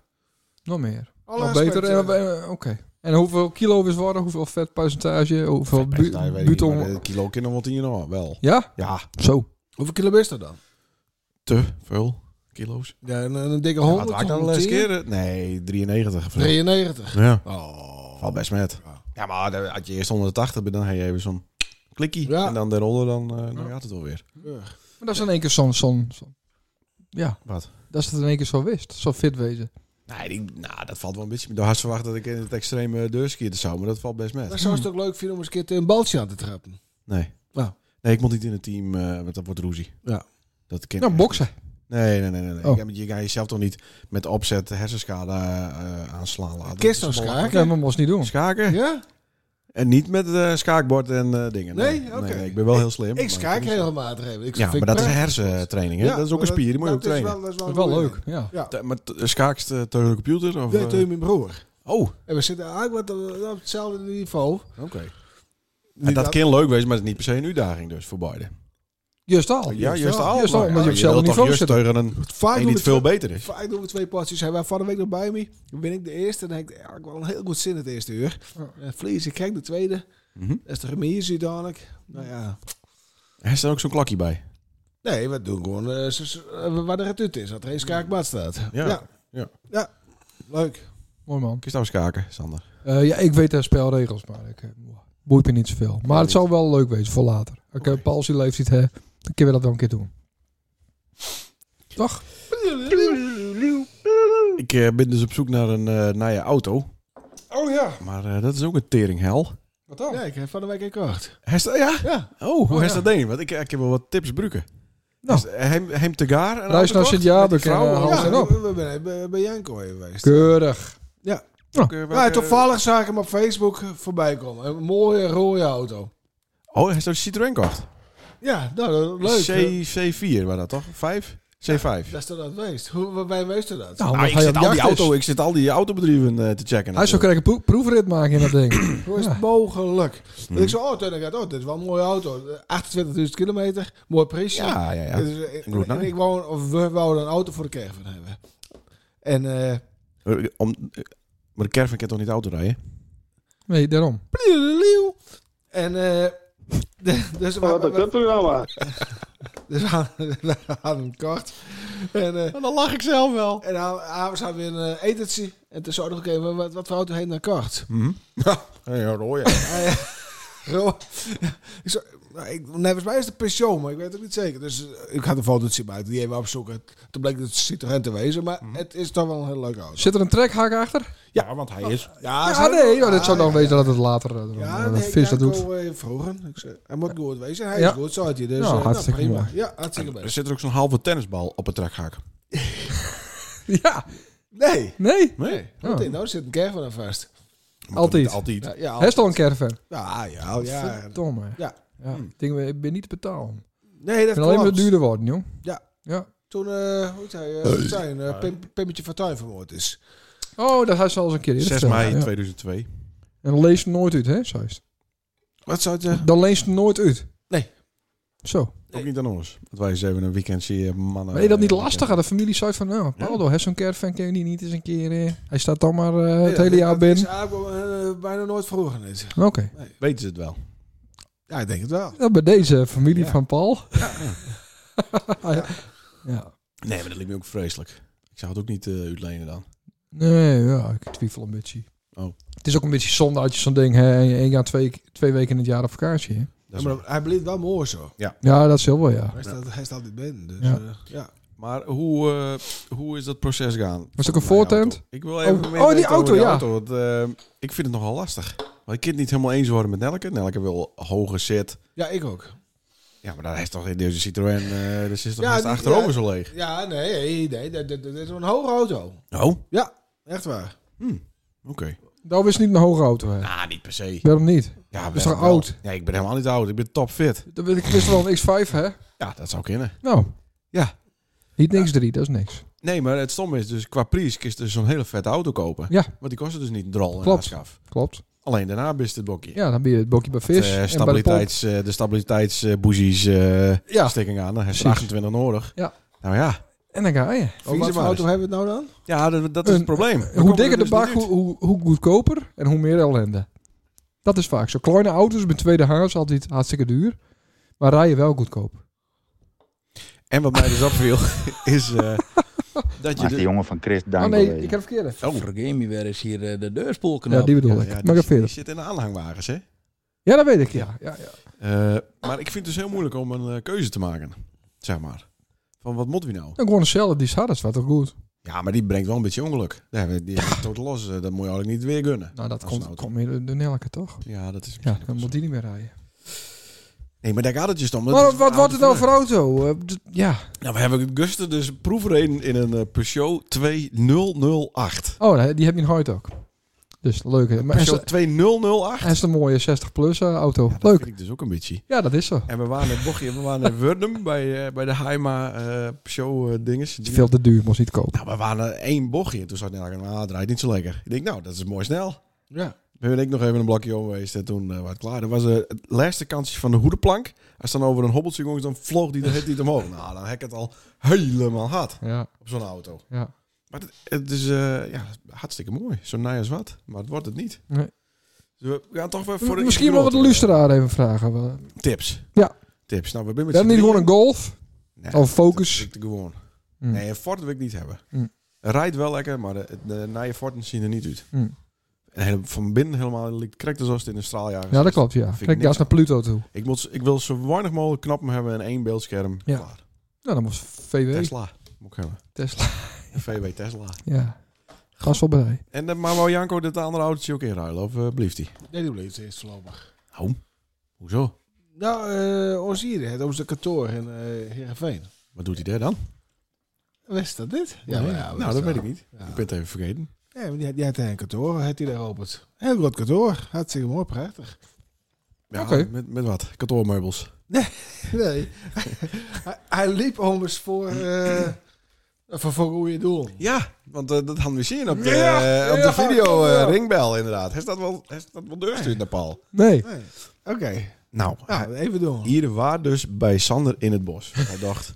D: Nog meer.
E: Alle
D: Nog
E: aspecten.
D: beter. En, eh, Oké. En hoeveel kilo is worden? Hoeveel vetpercentage? Hoeveel bu
A: Nou, ik weet niet, maar
D: buton?
A: de kilo kinderen wat hier nog wel.
D: Ja?
A: Ja,
D: Zo.
E: Hoeveel kilo is dat dan?
A: te veel kilo's.
E: Ja, een, een dikke
A: Ja, wat
E: 100.
A: had ik dan de
E: 110,
A: laatste keer? eh, Nee, 93 of zo.
E: 93.
A: Ja,
E: Oh.
A: valt best met. Ja, maar dan- als je eerst 180 bent, dan heb je even zo'n klikkie.
E: Ja.
A: En dan de rollen, dan, eh, dan gaat het alweer.
D: Maar dat is in één keer zo'n... zo'n zo'n- ja.
A: Wat?
D: Dat is het in één keer zo wist. Zo fit wezen.
A: Nee, die- nou, dat valt wel een beetje. De had verwacht dat ik in het extreme deurskierde zou, maar dat valt best met.
E: Maar Nou, zou het ook leuk vinden om eens een keer een baltje aan te trappen?
A: Nee.
E: Nou.
A: Nee, ik moet niet in het team, eh, want dat wordt roezie.
E: Ja.
A: Dat ken
D: Nou,
A: ik
D: boksen.
A: echt. Nee, nee, nee. nee, nee.
D: Oh.
A: Je- Je gaat jezelf toch niet met opzet hersenschade eh, eh, aanslaan laten.
E: Kist dan
A: Dat is
E: schaken?
D: Nee, maar moest niet doen.
A: gewoon- Schaken?
E: Ja?
A: En niet met eh, schaakbord en eh, dingen.
E: Nee? Oké.
A: ik ben wel heel slim.
E: Ik
A: maar
E: schaak
A: kan niet zo-
E: regelmatig even. Ik
A: Ja,
E: vind
A: maar dat is
E: prachtig.
A: hersentraining, hè?
E: Ja,
A: dat is ook een
E: maar
A: spier, die moet je ook
E: dat is
A: trainen.
E: wel- dat is
D: Dat
E: wel,
D: is wel
E: een
D: leuk.
E: goeie.
D: Ja.
E: Ja.
A: T- Maar t- schaakst eh, tegen de computer? Of,
E: Ja,
A: eh,
E: tegen mijn broer.
A: Oh, oké.
E: En we zitten eigenlijk wat eh, op hetzelfde niveau.
A: En dat
E: dat-
A: kan leuk wezen, maar het is niet per se een uitdaging dus voor beide.
D: Juist al.
A: Oh, Ja, juist al.
D: Juist al,
A: maar ja,
D: omdat je op hetzelfde
A: wilt toch
D: niveau
A: juist
D: zit.
A: tegen een
E: Vaak
A: een
E: doen
A: die
E: we
A: het veel
E: twee-
A: beter is.
E: Vaak doen we twee potjes. Hij was van de week nog bij me. Dan ben ik de eerste. Dan heb ik eigenlijk wel een heel goed zin het eerste uur. En Vlies, ik kijk de tweede.
A: Mhm.
E: Dat is de remise uiteindelijk. Nou ja.
A: Er staat ook zo'n klakje bij.
E: Nee, we doen gewoon eh, ze- ze- eh, waar de retut is. Dat er geen schaakbad staat.
A: Ja.
E: ja.
A: Ja.
E: Ja. Leuk.
D: Mooi man.
A: Kun je nou schaken, Sander?
D: Eh, ja, ik weet de spelregels, maar ik eh, boeit me niet zoveel. Maar het zou wel leuk wezen voor later. Als ik okay. palsy leeftijd heb, dan kunnen we dat wel een keer doen. Toch?
A: Ik eh, ben dus op zoek naar een eh naar je auto.
E: Oh ja.
A: Maar eh, dat is ook een teringhel.
D: Wat dan?
E: Ja, ik heb van de week gekocht.
A: Hest, ja?
E: Ja.
A: Oh, hoe
D: Oh,
A: heeft
D: ja.
A: dat ding? Want ik, ik heb wel wat tips gebruiken.
D: Nou.
A: Dus hem, hem te gaar. en
D: Reis naar
A: autotocht
D: Sint-Jaap,
A: met die
D: ik,
A: vrouw.
D: eh,
A: Ja,
D: Hals
E: Ja,
D: en op.
E: we- we zijn bij- bij Janko even geweest.
D: Keurig.
E: Ja.
A: welke- welke-
E: Nou, toevallig zag ik hem op Facebook voorbij komen. Een mooie rode auto.
A: Oh, hij heeft zo'n Citroën kocht.
E: Ja, nou, dat- leuk.
A: C, C4 was dat toch? 5? C5.
E: Dat is toch dat weest? Hoe, wij weesten dat?
D: Nou,
A: Nou,
D: omdat
A: ik,
D: hij
A: zit
D: op
A: al die
D: jacht is.
A: auto, ik zit al die autobedrijven eh, te checken.
D: Hij
A: natuurlijk.
D: zou krijgen een proefrit maken in dat ding.
E: Hoe is het
D: Ja.
E: mogelijk?
A: Hmm.
E: Dat ik zo, oh, toen dacht ik, oh, dit is wel een mooie auto. 28.000 kilometer, mooi prijsje.
A: Ja, ja, ja.
E: Dus, eh,
A: Een goed
E: en
A: naam.
E: ik wou, of we wouden een auto voor de caravan hebben. En, eh,
A: Eh, Om, eh, maar de caravan kan toch niet auto rijden?
D: Nee, daarom.
E: plielelieuw. en eh, de- dus, we,
C: Wat een
E: we,
C: kutprogramma.
E: dus we hadden- we hadden hem kort. En, eh,
A: Dan lach ik zelf wel.
E: en dan avonds hadden we een eh, etentje. En toen zouden we nog even, wat, wat voor auto heen naar kort?
A: Ja, rooi.
E: Ro- ik zou, nou, ik, nee, volgens mij is het een pensioen, maar ik weet het niet zeker. Dus eh, ik had een fotootje buiten, die even opzoeken. Toen bleek dat het Citroën te wezen, maar het is toch wel een heel leuk auto.
D: Zit er een trekhak achter?
A: Ja, Ah, want hij is...
D: Ja,
E: ze-
D: nee. oh, dat zou
E: ja,
D: dan wezen dat het later... eh,
E: Ja,
D: dat
E: nee,
D: vis dat doet.
E: Ik vroeger. Ik zei, hij moet goed wezen. Hij
D: Ja.
E: is goed, zou hij. Dus,
D: Nou,
E: eh, nou,
D: hartstikke
E: prima.
D: mooi.
E: Ja, hartstikke
A: Er
E: best.
A: zit er ook zo'n halve tennisbal op het trekhaak.
D: Ja.
E: Nee,
D: Nee.
E: nee.
D: Oh.
E: Goed, Nou zit een caravan aan vast.
D: Altijd.
A: Altijd.
E: Ja, ja,
D: Hij is toch een caravan?
E: Ja, ja, ja.
D: Verdomme.
E: Ja.
D: Ja. Ik denk, ik ben niet te betalen.
E: Nee, dat
D: Ik ben alleen maar
E: klopt.
D: duurder worden, jong.
E: Ja.
D: Ja.
E: Toen, eh, hoe heet hij, eh, Fortuyn, eh, Pim, Pimmetje Fortuyn vermoord is.
D: Oh, dat had ze al eens een keer eerder
A: 6
D: verteld,
A: mei
D: ja.
A: 2002.
D: En dat leest nooit uit, hè, zei ze.
E: Wat zou het zeggen?
D: Dat leest nooit uit.
E: Nee.
D: Zo.
A: eh, Ook niet aan ons. Want wij zijn even een weekendje mannen.
D: Maar je dat niet
A: eh,
D: lastig aan de familie zei van, nou, Paldo, hè, zo'n caravan ken je niet, niet eens een keer. eh, hij staat dan maar eh, het hele jaar
E: Dat is
D: binnen.
E: eigenlijk, eh, bijna nooit vroeger. is.
D: Oké.
A: Weten ze het wel.
E: Ja, ik denk het wel.
D: Ja, bij deze familie van Paul. Ah, Ja.
A: Nee, maar dat lijkt me ook vreselijk. Ik zou het ook niet eh, uitlenen dan.
D: Nee, ja, ik twijfel een beetje.
A: Oh.
D: Het is ook een beetje zonde als je zo'n ding, hè, en je één jaar, twee, twee weken in het jaar op vakantie. hè.
A: Dat is-
E: Ja, maar hij bleef wel mooi zo.
D: Ja, dat is heel wel, ja.
E: Hij staat, hij staat niet binnen. Dus,
D: Ja.
E: eh, ja.
A: Maar hoe, eh, hoe is dat proces gegaan?
D: Was het ook een
A: Van mijn
D: voortent?
A: auto. Nou Ik wil even
D: Oh,
A: meer
D: oh, die
A: weten over
D: auto, ja.
A: want, eh, ik vind het nogal lastig. Want ik kan het niet helemaal eens worden met Nelke. Nelke wil hoger zit.
E: ja, ik ook.
A: Ja, maar daar is toch in deze Citroën... eh dus is toch
E: Ja,
A: ja,
E: die-
A: achterover
E: ja.
A: zo leeg.
E: Ja, nee, nee, dat, dat, dat is een hoge auto.
A: Oh, oké.
E: Ja, echt waar.
D: Dat is Nou, niet een hoge auto, hè.
A: Nou, niet per se.
D: Waarom niet?
A: Ja,
D: Dat is
A: wel-
D: toch oud?
A: Nee, ik ben helemaal niet oud. Ik ben topfit.
D: Dat weet ik wist wel een X5, hè?
A: Ja, dat zou kunnen.
D: Nou.
A: Ja.
D: Niet niks drie, dat is niks.
A: Nee, maar het stom is dus qua prijs kun je dus zo'n hele vette auto kopen.
D: Ja.
A: Want die kostte dus niet een drol en
D: Klopt.
A: aanschaf.
D: Klopt.
A: Alleen daarna bist het bokje.
D: Ja, dan ben je het bokje bij vis.
A: Eh,
D: en bij de pomp.
A: stabiliteits, eh, de stabiliteitsboezies eh,
D: Ja.
A: stikking aan. Dan heb je
D: Precies.
A: 28 nodig.
D: Ja.
A: Nou ja,
D: En dan ga je.
E: Over wat voor
A: maar
E: auto hebben we het nou dan?
A: ja dat, dat is het
D: Een-
A: probleem. We komen
D: hoe
A: er
D: dikker de
A: dus niet
D: bak,
A: uit.
D: hoe, hoe, hoe goedkoper en hoe meer ellende. Dat is vaak zo. Kleine auto's met tweedehands altijd hartstikke duur. Maar rijden wel goedkoop.
A: En wat mij dus opviel, is eh, dat je...
I: Maakt de
A: de-
I: jongen van Chris
D: Oh
I: Duin.
D: nee, ik heb verkeerde.
A: Oh,
J: Vergeet weer is hier eh, de deurspoelkanaal.
D: Ja, die bedoel
A: ja,
D: ik.
A: ja,
D: maar
A: die,
D: ga
A: die
D: verder.
A: zit in de aanhangwagens, hè?
D: Ja, dat weet ik. Ja. Ja, ja.
A: Eh, maar ik vind het dus heel moeilijk om een eh, keuze te maken, zeg maar. Van wat moeten we nou?
D: Dan gewoon een cel, die is hard, dat is wat toch goed.
A: Ja, maar die brengt wel een beetje ongeluk. Ja, die die is tot los, eh, dat moet je eigenlijk niet weer gunnen.
D: Nou, dat
A: Als een
D: komt,
A: auto.
D: komt meer de, de Nelke, toch?
A: Ja, dat is
D: Ja,
A: misschien ook
D: dan
A: wel
D: moet
A: zo.
D: die niet meer rijden.
A: Nee, maar daar gaat het dus om. Dat
D: Maar
A: is
D: wat wordt het nou
A: oude
D: voor auto? Eh, d- Ja.
A: Nou, we hebben Guster dus proefreden in een eh, Peugeot 2008.
D: Oh, nee, die heb je in Hoyt ook. Dus leuk. hè. Maar hij is,
A: Peugeot 2008?
D: hij is een mooie 60 plus eh, auto.
A: Ja, dat
D: leuk.
A: vind ik dus ook een beetje.
D: Ja, dat is zo.
A: En we waren in Bochje, we waren in Wurnum bij, eh, bij de Heima eh Peugeot eh, dinges.
D: Het is veel te duur, moest niet kopen.
A: Nou, we waren er één bochtje en toen zat Nelke, nou, het rijdt niet zo lekker. Ik denk, nou, dat is mooi snel.
E: Ja.
A: We ben ik nog even een blokje om geweest en toen eh, was het klaar. Dat was eh, het laatste kansje van de hoedenplank. Als dan over een hobbeltje ging, dan vloog die er helemaal niet omhoog. Nou, dan heb ik het al helemaal hard
D: Ja,
A: op zo'n auto.
D: ja.
A: Maar het, het is eh, ja, hartstikke mooi. Zo naai als wat. Maar het wordt het niet.
D: Nee.
A: Dus we gaan toch wel voor de
D: Misschien wel wat de
A: grotere
D: luisteraar even vragen. We
A: Tips.
D: Ja.
A: Tips. Nou, we zijn met
D: hebben niet
A: z'n
D: gewoon een Golf.
A: drieën.
D: of Oh, Focus?
A: Dat is te gewoon.
D: Mm.
A: Nee, een Ford wil ik niet hebben.
D: Mm.
A: Rijdt wel lekker, maar de, de naaie Forten zien er niet uit.
D: Mm.
A: En hele- van binnen helemaal lijkt correct alsof het in een straaljager
D: Ja, dat
A: zit.
D: klopt, ja.
A: Vind ik
D: Kijk,
A: niks
D: gas naar Pluto toe.
A: Ik, moet, ik wil zo weinig mogelijk knappen hebben en één beeldscherm.
D: Ja.
A: Klaar.
D: Nou, dan moest VW. Tesla.
A: Tesla moet ik hebben. Een VW Tesla.
D: Ja. Gasvelberij.
A: En, eh, maar wou Janko dit andere autootje ook inruilen? Of eh, blieft hij?
E: Nee, die bleef eerst voorlopig.
A: Hoezo?
E: Nou, eh ons hier, het Ooster kantoor in eh Heerenveen.
A: Wat doet hij daar dan?
E: Wist dat dit?
A: Nee.
E: maar wist
A: nou, dat
E: wel.
A: weet ik niet.
E: Ja.
A: Ik ben het even vergeten.
E: Nee, maar die, had- die had een kantoor, had hij daar opend. Heel groot kantoor, hartstikke mooi, prachtig.
A: Ja,
D: Oké.
A: met, met wat? Kantoormeubels.
E: Nee, hij, hij liep om eens voor, eh voor, voor goede doel.
A: Ja, want eh, dat hadden we zien op de,
E: Ja,
A: eh, op de
E: ja,
A: video eh,
E: ja.
A: ringbel inderdaad. Hij staat wel, hij staat wel deurstuurd naar Paul.
D: Nee.
E: Nee. Oké,
A: Nou, hij-
E: nou, even doen.
A: hier waren dus bij Sander in het bos. Hij dacht,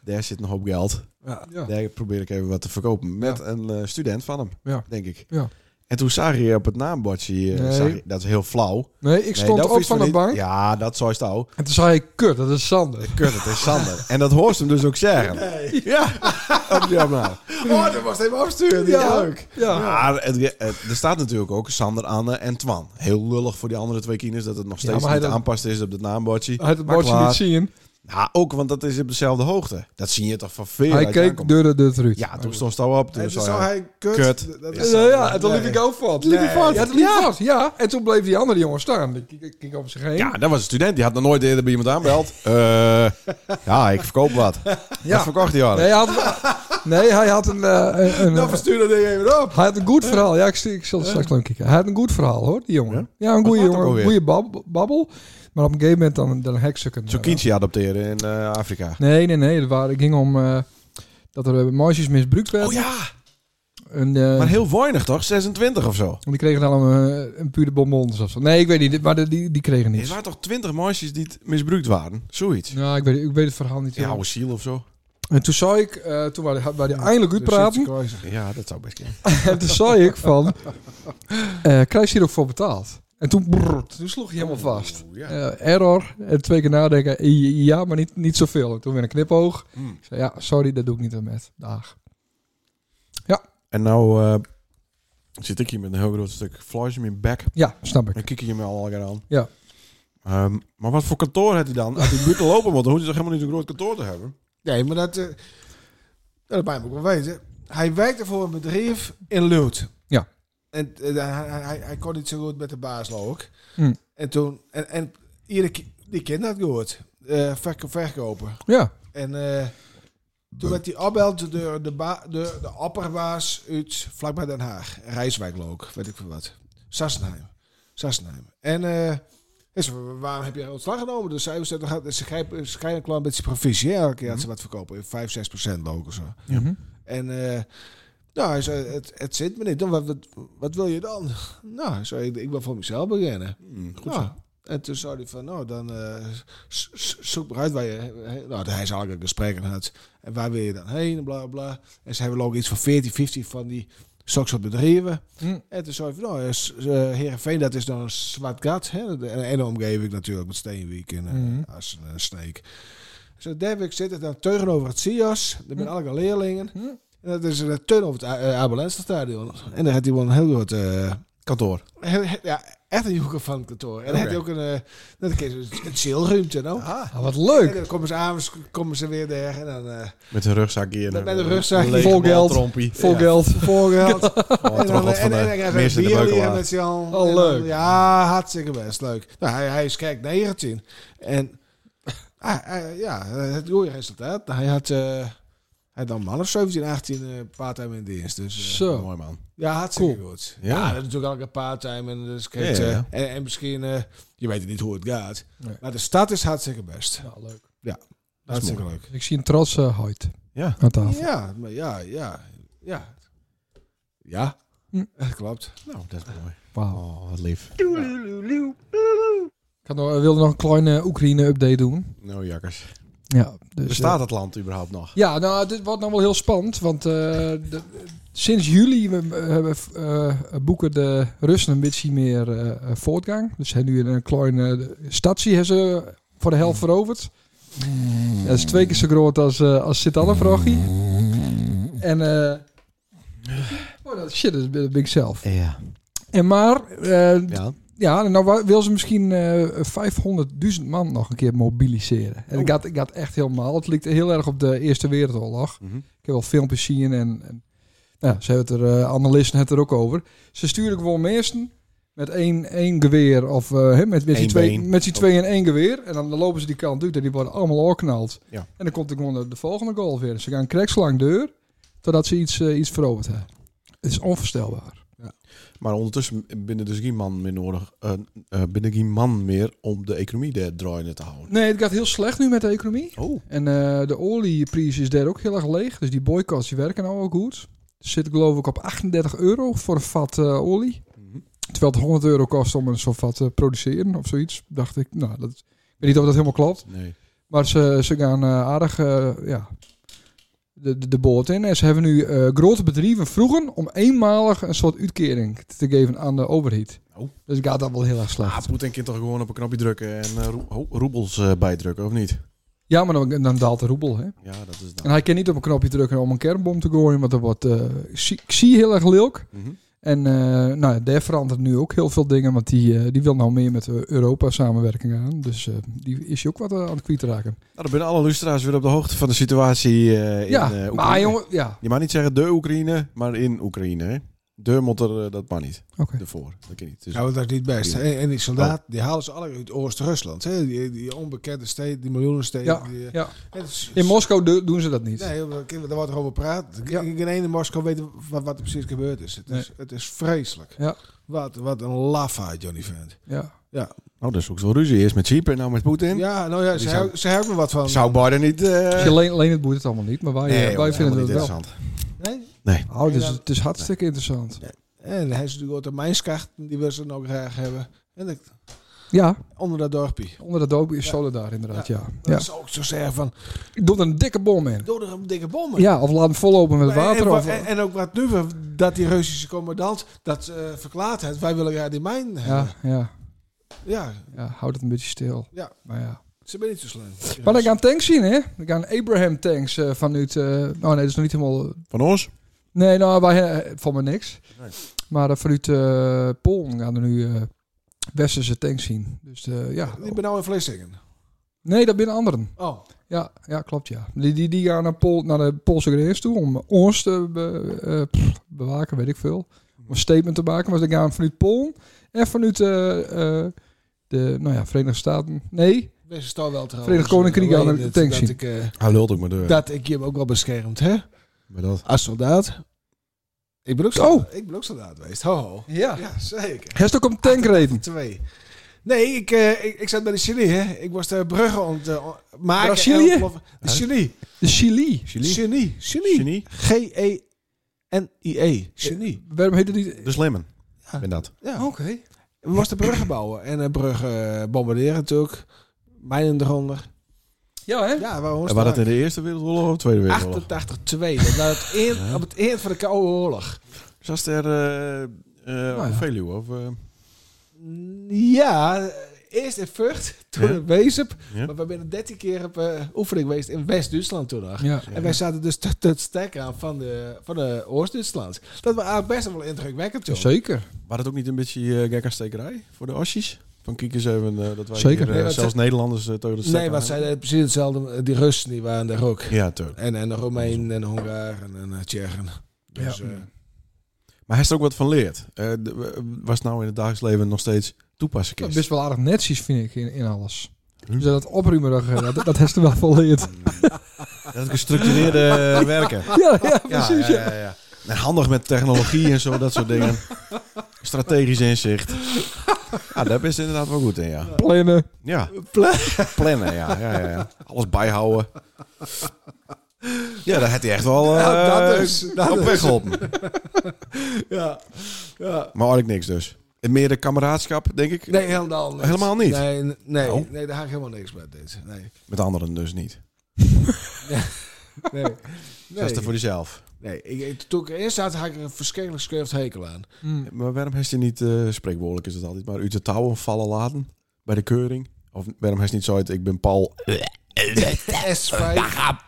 A: daar zit nog op geld.
D: Ja.
A: Daar probeer ik even wat te verkopen. Met een eh, student van hem,
D: Ja.
A: denk ik.
D: Ja.
A: En toen zag je op het naambordje, eh,
D: Nee.
A: zag je- dat is heel flauw.
D: Nee, ik
A: Nee,
D: stond
A: dat
D: op
A: wist
D: van
A: we
D: de
A: niet.
D: bank.
A: Ja, dat zou je het ook.
D: En toen zei ik, kut, dat is Sander.
A: Kut, het is Sander. en dat hoort hem dus ook zeggen. Ja, op die opname.
E: Oh, dat was even afsturen, die ja. leuk.
D: Ja.
A: Maar Ah, het- het- er staat natuurlijk ook Sander, Anne en Twan. Heel lullig voor die andere twee kinders dat het nog steeds
D: maar hij
A: niet
D: dat-
A: aanpast is op het naambordje.
D: Hij had het
A: Maar
D: bordje
A: klaar.
D: niet zien.
A: Ja, ook, want dat is op dezelfde hoogte. Dat zie je toch van veel.
D: Hij
A: uit
D: keek
A: aankomen.
D: door de deur uit.
A: Ja, toen stond hij op. Toen
E: En toen
A: zei
E: zou
A: hij...
E: hij kut.
A: Kut.
E: Dat
A: Ja.
E: is
D: Ja, ja, en
E: dat
D: toen liep ik ook vast.
E: Liep hij vast?
D: Ja, toen liep hij vast, ja. En toen bleef die andere jongen staan. Die keek- keek over zich heen.
A: Ja, dat was een student. Die had nog nooit eerder bij iemand aanbeld. Eh, ja, ik verkoop wat. Dat verkocht hij al.
D: Nee, hij had, nee, hij had een... eh, een- een
A: Nou,
E: Dan verstuur dat ding even op.
D: hij had een goed verhaal. Ja, ik, zie- ik zal het straks nog een keer kijken. Hij had een goed verhaal, hoor, die jongen. Ja, een goede
A: was het ook
D: jongen.
A: alweer?
D: goede bab- babbel. Maar op een gegeven moment dan, dan heksukken.
A: Tsukinsi adopteren in eh, Afrika.
D: eh, Nee, nee, nee. Het waren- het ging om eh, dat er eh, meisjes misbruikt werden.
A: Oh ja,
D: en, eh,
A: maar heel weinig toch? 26 of zo.
D: en die kregen dan een, eh, een pure bonbons of zo. Nee, ik weet niet. Maar de- die, die kregen
A: Er
D: niets.
A: waren toch 20 meisjes die het misbruikt waren? Zoiets.
D: Nou, ik weet, ik weet het verhaal niet.
A: Ja,
D: helemaal.
A: oude ziel of zo.
D: En toen zei ik, eh, toen waren we waren die eindelijk uitpraten.
A: Ja, dat zou best kunnen.
D: En toen zei ik van, eh krijg je hier ook voor betaald? En toen, brrr, toen sloeg hij helemaal vast.
A: Oeh, ja.
D: Eh, error, en twee keer nadenken, i- ja, maar niet, niet zoveel. En toen weer een knipoog.
A: Hmm.
D: Ik zei, ja, sorry, dat doe ik niet aan met. Dag.
A: En nou eh, zit ik hier met een heel groot stuk vlees in mijn bek.
D: Ja, snap ik.
A: En kijk je me al elkaar aan.
D: Ja.
A: Ehm, maar wat voor kantoor had hij dan? Had hij buiten lopen moeten, hoeft hij toch helemaal niet zo'n groot kantoor te hebben?
E: Nee, maar dat... eh, nou, dat mij ook wel weten. Hij werkte voor een bedrijf in Lut.
D: Ja.
E: En eh, hij, hij- hij, hij kon niet zo goed met de baas ook.
D: Hm.
E: En toen... En, en iedere ki- die kind had gehoord. Eh, verk- verkopen.
D: Ja,
E: En eh, toen werd hij opbeld door de, ba- door de opperbaas uit vlakbij Den Haag. Rijswijk ook, weet ik veel wat. Sassenheim. Sassenheim. En eh, hij zei, "Wa- waarom heb je ontslag genomen? Dus zij zei, "Dan gaat- ze grijpen ze krijgen wel een beetje provisie. hè, Elke keer dat ze wat verkopen. 5, 6 procent ook of zo.
D: Mhm.
E: En eh, nou, hij zei, het, het zit me niet. Dan, wat, wat, wat wil je dan? Nou, hij zei, ik, ik wil voor mezelf beginnen.
A: goed
E: Nou, En toen zei hij van, nou, dan eh, s- s- zoek maar uit waar je... he- Nou, hij is eigenlijk gesprekken had. En waar wil je dan heen? En bla, bla. En ze hebben ook iets van 14, 15 van die soort soort bedrijven.
D: Hm.
E: En toen zei hij van, nou, eh, s- eh, Heerenveen, dat is dan een zwart gat. Hè? De- En en de omgeving natuurlijk, met Steenwijk en
D: Mhm.
E: eh Assen en Sneek. Zo, Derwijk zit het dan tegenover het CIOS. Daar
D: Mhm.
E: zijn allemaal leerlingen.
D: Hm.
E: En dat is een turn over het Abelenstadion. En daar had hij wel een heel groot... eh,
A: Kantoor.
E: Heel- he- Ja, echt een joeker van het kantoor. En dan heb je ook een, eh dat is een, een chillruimte, nou.
D: Ah, wat
E: En
D: leuk.
E: dan komen ze avonds, komen ze weer daar en dan eh
A: Met een rugzak hier.
E: Met-
A: en
E: met
A: een-
E: een rugzak.
A: een lege
D: Vol geld.
A: baltrompie.
D: Vol
A: Ja.
D: geld.
E: voorgeld.
A: Oh,
E: en dan,
A: troggelt
E: eh, en,
A: van
E: en,
A: de
E: en dan
A: mis
E: krijgen
A: in de
E: bier leren
A: beukelaar.
E: met z'n allen.
D: Oh,
E: En dan-
D: leuk.
E: Ja, hartstikke best leuk. Nou, hij, hij is kijk 19. En ah, hij- ja, het goede resultaat. Hij had, eh hij dan man of 17, 18 eh part-time in dienst. Dus, eh,
D: Zo.
A: Mooi man.
E: Ja, hartstikke goed.
A: Ja.
E: Ja. dat is natuurlijk elke part-time. En, dus, kijk,
A: Ja, ja,
E: eh,
A: ja.
E: en, en misschien, eh, je weet het niet hoe het gaat.
D: Nee.
E: Maar de stad is hartstikke best.
D: Ja, leuk.
A: Dat is
E: Hartstikke leuk.
D: Ik zie een trotse huid
A: Ja.
D: aan tafel.
E: Ja, maar ja, ja, ja. Ja,
D: Hm.
E: dat klopt.
A: Nou, dat is mooi.
D: Wauw.
A: Oh, wat lief.
D: Ik had nog, eh, wilde nog een kleine Oekraïne-update doen.
A: Nou, jakkers.
D: Ja, dus, eh,
A: Bestaat het land überhaupt nog?
D: Ja, nou, dit wordt nou wel heel spannend, want eh, de- sinds juli we, eh, hebben eh, boeken de Russen een beetje meer eh, eh, voortgang. Dus ze hebben nu een kleine statie hebben ze voor de helft veroverd. Dat is twee keer zo groot als, eh als Sint-Anne-Vrochie. En... eh, Oh, dat, shit, dat ben ik zelf.
A: Ja.
D: En maar, eh,
A: Ja.
D: ja, nou wa- wil ze misschien eh 500.000 man nog een keer mobiliseren. En ik, had, ik had echt helemaal. Het lijkt heel erg op de Eerste Wereldoorlog.
A: Mhm.
D: Ik heb wel filmpjes zien en, en nou, ze hebben het er, eh, analisten het er ook over. Ze sturen gewoon mensen met één, één geweer of eh, hè, met, met, die
A: Eén
D: twee,
A: been. Oh.
D: met die twee in één geweer. En dan lopen ze die kant uit en die worden allemaal oorknald.
A: Ja.
D: En dan komt er gewoon de, de volgende golf weer. Ze gaan krekslang deur totdat ze iets, eh, iets veroverd hebben. Het is onvoorstelbaar.
A: Maar ondertussen binnen dus geen man meer nodig. eh, eh, binnen geen man meer om de economie de draaiende te houden.
D: Nee, het gaat heel slecht nu met de economie.
A: Oh.
D: En eh, de olieprijs is daar ook heel erg leeg. Dus die boycotts die werken nou ook goed. Zit geloof ik op 38 euro voor een vat eh, olie.
A: Mhm.
D: Terwijl het 100 euro kost om een zo'n vat te produceren of zoiets. Dacht ik, nou, dat, ik weet niet of dat helemaal klopt.
A: Nee.
D: Maar ze, ze gaan eh, aardig eh, ja, de, de, de boot in. En ze hebben nu eh, grote bedrijven vroegen om eenmalig een soort uitkering te geven aan de overheid.
A: Oh.
D: Dus het gaat dat wel heel erg slecht.
A: Ah, Poetin kan toch gewoon op een knopje drukken en eh, roe- ho- roebels eh, bijdrukken, of niet? Nou,
D: Ja, maar dan, dan daalt de roebel, hè?
A: Ja, dat is
D: En
A: dan.
D: hij kan niet op een knopje drukken om een kernbom te gooien, want dat wordt eh, zie- ik zie heel erg leuk.
A: Mhm.
D: En eh nou, ja, daar verandert nu ook heel veel dingen, want die, eh, die wil nou meer met eh, Europa samenwerking aan. Dus eh, die is je ook wat eh, aan het kwijtraken.
A: Nou, dan ben alle lustra's weer op de hoogte van de situatie eh, in
D: ja,
A: eh, Oekraïne.
D: maar jongen, ja,
A: Je mag niet zeggen de Oekraïne, maar in Oekraïne. Hè? De moet er, eh, dat mag niet.
D: oké.
A: Ervoor. Dat kan niet. Dus,
E: Nou, dat is niet best. En, en die soldaten, die halen ze alle uit Oost-Rusland. hè. Die, die onbekende steden, die miljoenensteden.
D: Ja,
E: die, eh,
D: ja.
A: dus-
E: het is-
D: In Moskou do- doen ze dat niet.
E: Nee, joh, daar wordt er over gepraat.
D: Ja.
E: Geen ene in Moskou weet wat, wat er precies gebeurd is. Het, is, het is vreselijk.
D: Ja.
E: Wat, wat een lafa, Johnny Vent.
D: Ja.
E: Ja.
A: Oh, dat is ook wel ruzie. Eerst met Cypre, nou met Poetin.
E: Ja, nou ja, ze,
A: zou-
E: hou- ze hebben wat van.
A: Zou Biden niet... eh,
D: Weet je, Leen, Leen het boeit het allemaal niet, maar wij,
A: Nee,
D: eh,
A: joh,
D: wij vinden
A: helemaal niet
D: het wel.
A: interessant.
E: Nee?
A: Nee.
D: Oh, dus het is hartstikke interessant.
E: En hij is natuurlijk ook de mijnskachten die we ze nog graag hebben. En dat,
D: Ja,
E: onder dat dorpje.
D: onder de doop is Solidar inderdaad, ja. ja.
E: Dat zou ik zo zeggen van,
D: Ik doe er een dikke bom in.
E: doe er een dikke bom in.
D: Ja, of laat hem vollopen met
E: En- en,
D: water.
E: wa-
D: Of,
E: en, en ook wat nu, dat die Russische commandant dat eh, verklaart heeft. Wij willen graag die mijn
D: ja,
E: hebben.
D: ja,
E: Ja.
D: ja, houd het een beetje stil.
E: Ja.
D: Maar ja.
E: ze ben niet zo slim.
D: Maar dan gaan tanks zien, hè? Dan gaan Abraham tanks eh, vanuit. eh oh nee, dat is nog niet helemaal.
A: Van ons?
D: Nee, nou, wij eh, van me niks. Maar eh, vanuit eh, Polen gaan er nu eh, westerse tanks zien. Dus eh, ja.
E: Die ben nou in Vlissingen.
D: Nee, dat binnen anderen.
E: Oh,
D: Ja, ja klopt, ja. Die, die, die gaan naar, Pol, naar de Poolse grens toe om ons te be- eh, pff, bewaken, weet ik veel. Om een statement te maken. Maar ze gaan vanuit Polen en vanuit eh, eh, de nou ja, Verenigde Staten. Nee,
E: wees is toch wel trouwens.
D: Verenigd Koninkrijk
E: Alleen
D: aan de
E: dat-
D: tank zien.
E: dat ik, eh,
A: Hij lult ook maar door.
E: dat ik je hem ook wel beschermd, hè?
A: Maar dat.
E: Als soldaat. Ik ben ook
D: Oh.
E: soldaat, ik ben ook soldaat geweest. Ho, ho.
D: Ja.
E: Ja, zeker.
D: Hij is ook om tankreden.
E: Twee. Nee, ik, eh, ik, ik zat bij de Chili, hè. Ik was de bruggen ont, eh, on- maken. en
D: Brazilië?
E: ontploffen. De Chili.
D: De Chili.
A: Chili?
E: Genie. Genie.
A: Genie?
E: E G-E-N-I-E. Genie.
D: Waarom heet het niet?
A: De slimmen. Ben dat.
E: Ja.
D: Oké.
E: We moesten bruggen bouwen. En eh, bruggen eh, bombarderen natuurlijk. Mijnen eronder.
D: Ja, hè?
E: Ja, waarom
A: En was dat in de Eerste Wereldoorlog of de Tweede Wereldoorlog?
E: 88-2. Dat was het eind- op het eind van de Koude Oorlog.
A: Zat er eh eh
D: ja.
A: op Veluwe of... eh,
E: Ja, eerst in Vught, toen
A: Ja.
E: in Wezep.
A: Ja.
E: Maar we zijn 13 keer op eh, oefening geweest in West-Duitsland toen nog.
D: Ja.
E: En wij zaten dus te, te stekken aan van de, van de Oost-Duitsland. Dat was eigenlijk best wel indrukwekkend toen.
D: Zeker.
A: Waren het ook niet een beetje eh gekkerstekerij voor de Ossies? Van kijk eens even eh, dat wij
D: Zeker.
A: hier, eh,
E: Nee, want
A: zelfs
E: ze-
A: Nederlanders eh tegen de stekker
E: Nee, want zij
A: aan-
E: deden precies hetzelfde. eh, Die Russen die waren daar ook.
A: Ja, tuurlijk.
E: En, en de Romeinen en de Hongaren en de Tsjechen. Dus,
D: Ja.
E: ja.
A: Maar hij is er ook wat van leerd. Eh, de- we- was het nou in het dagelijks leven nog steeds toepassen
D: Ja,
A: kist?
D: best wel aardig netjes, vind ik, in, in alles.
A: Hm?
D: Dus dat opruimerige, dat, dat heeft er wel van geleerd.
A: Dat gestructureerde eh, werken.
D: Ja, ja, precies. Ja,
A: ja, ja. En handig met technologie en zo, dat soort dingen. Strategisch inzicht. Ja, daar ben je inderdaad wel goed in, ja.
D: Plannen.
A: Ja. Plannen, ja. ja, ja, ja. Alles bijhouden. Ja, daar had hij echt wel eh
E: Ja, dat is- dat
A: op
E: is.
A: weg geholpen.
E: ja. ja.
A: Maar eigenlijk niks dus. En meer de kameraadschap, denk ik.
E: Nee, helemaal niet.
A: Helemaal niet?
E: Nee, n- nee,
A: Nou.
E: nee daar ga ik helemaal niks mee. Dit. Nee.
A: Met anderen dus niet.
E: Nee.
A: Dat is er
E: nee.
A: voor jezelf.
E: nee. Ik, ik- toen ik erin zat, had ik er een verschrikkelijk schurft hekel aan.
A: Maar waarom heeft hij niet, eh spreekwoordelijk is het altijd, maar uit de touwen vallen laten bij de keuring? Of waarom heeft hij niet zoiet, ik ben Paul.
E: S5.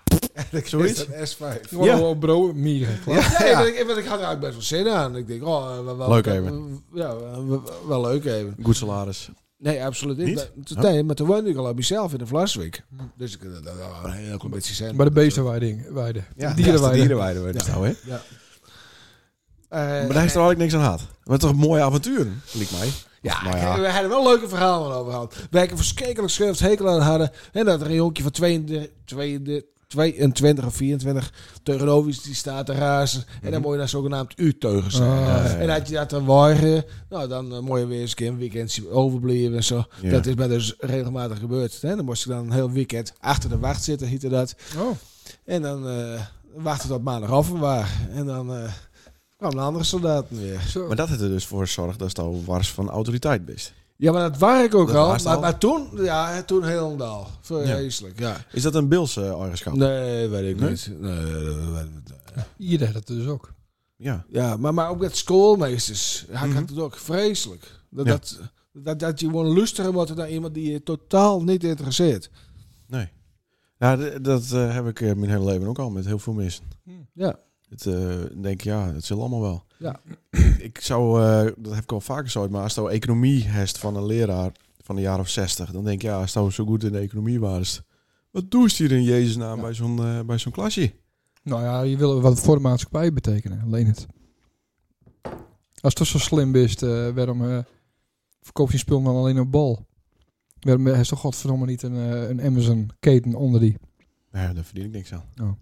A: Zoiets?
E: Is dat S5.
D: Ja. Wow, bro, mieren.
E: Ja, nee, want ik, want ik had er eigenlijk best wel zin aan. Ik denk, oh, eh, wel, wel-
A: Leuk
E: wel-
A: even.
E: Ja, wel, wel- wel leuk even.
A: Goed salaris.
E: Nee, absoluut niet.
A: Niet?
E: Maar- Nee, maar toen woonde ik al op mezelf in de Vlaswijk. Dus ik dat, dat, dat, een heel klein beetje zin.
D: Bij de beestenweiding. Weiden.
A: Ja,
D: Dierenweiden.
A: Dierenweide. weet je nou, hè?
E: Eh,
A: Maar daar heeft er eigenlijk niks aan gehad. Maar toch een mooie avontuur, liep mij.
E: Ja,
A: Nou
E: kijk, we hadden wel leuke verhalen over gehad. Wij een verschrikkelijk schurft hekel aan hadden. En dat er een jonkje van 22, 22, 22 of 24 tegenover is, die staat te razen. En dan moet je naar zogenaamd U-teugen zijn.
D: Ah.
E: En had je dat dan waren, nou dan eh, moet je weer eens een keer een weekendje overblijven en zo.
A: Ja.
E: Dat is mij dus regelmatig gebeurd. Hè? Dan moest ik dan een heel weekend achter de wacht zitten, hiette dat.
D: Oh.
E: En dan eh wachtte tot maandag af en waar. En dan eh kwam de andere soldaten weer.
D: Zo.
A: Maar dat heeft er dus voor zorgt dat je al wars van autoriteit bent.
E: Ja, maar dat waar ik ook
A: Dat
E: al.
A: was
E: Maar,
A: al.
E: maar toen, ja, toen helemaal. Vreselijk, ja.
A: Is dat een eh, Bilse eigenschap?
E: Nee, weet ik
A: Oh. Nee?
E: niet. Nee, dat weet ik niet.
D: Hier deed dat dus ook.
A: Ja.
E: Ja, maar, maar ook met schoolmeesters. Ja, ik
A: Mhm.
E: had het ook vreselijk. Dat,
A: Ja.
E: dat, dat, dat je gewoon luisteren wordt naar iemand die je totaal niet interesseert.
A: Nee. Ja, d- dat eh, heb ik eh, mijn hele leven ook al met heel veel mensen.
E: Ja.
A: Het, eh, ik denk ja, het zal allemaal wel.
E: Ja.
A: Ik zou, eh, dat heb ik al vaker zo, maar als je economie hebt van een leraar van een jaar of zestig, dan denk ik ja, als je zo goed in de economie was, wat doe je hier in Jezus naam bij zo'n eh, bij zo'n klasje?
D: Nou ja, je wil wat voor de maatschappij betekenen. Alleen het. Als het toch zo slim is, eh, waarom eh, verkoop je spul dan alleen op bal? Waarom heeft toch godverdomme niet een, eh, een Amazon-keten onder die?
A: Nee, daar verdien ik niks aan.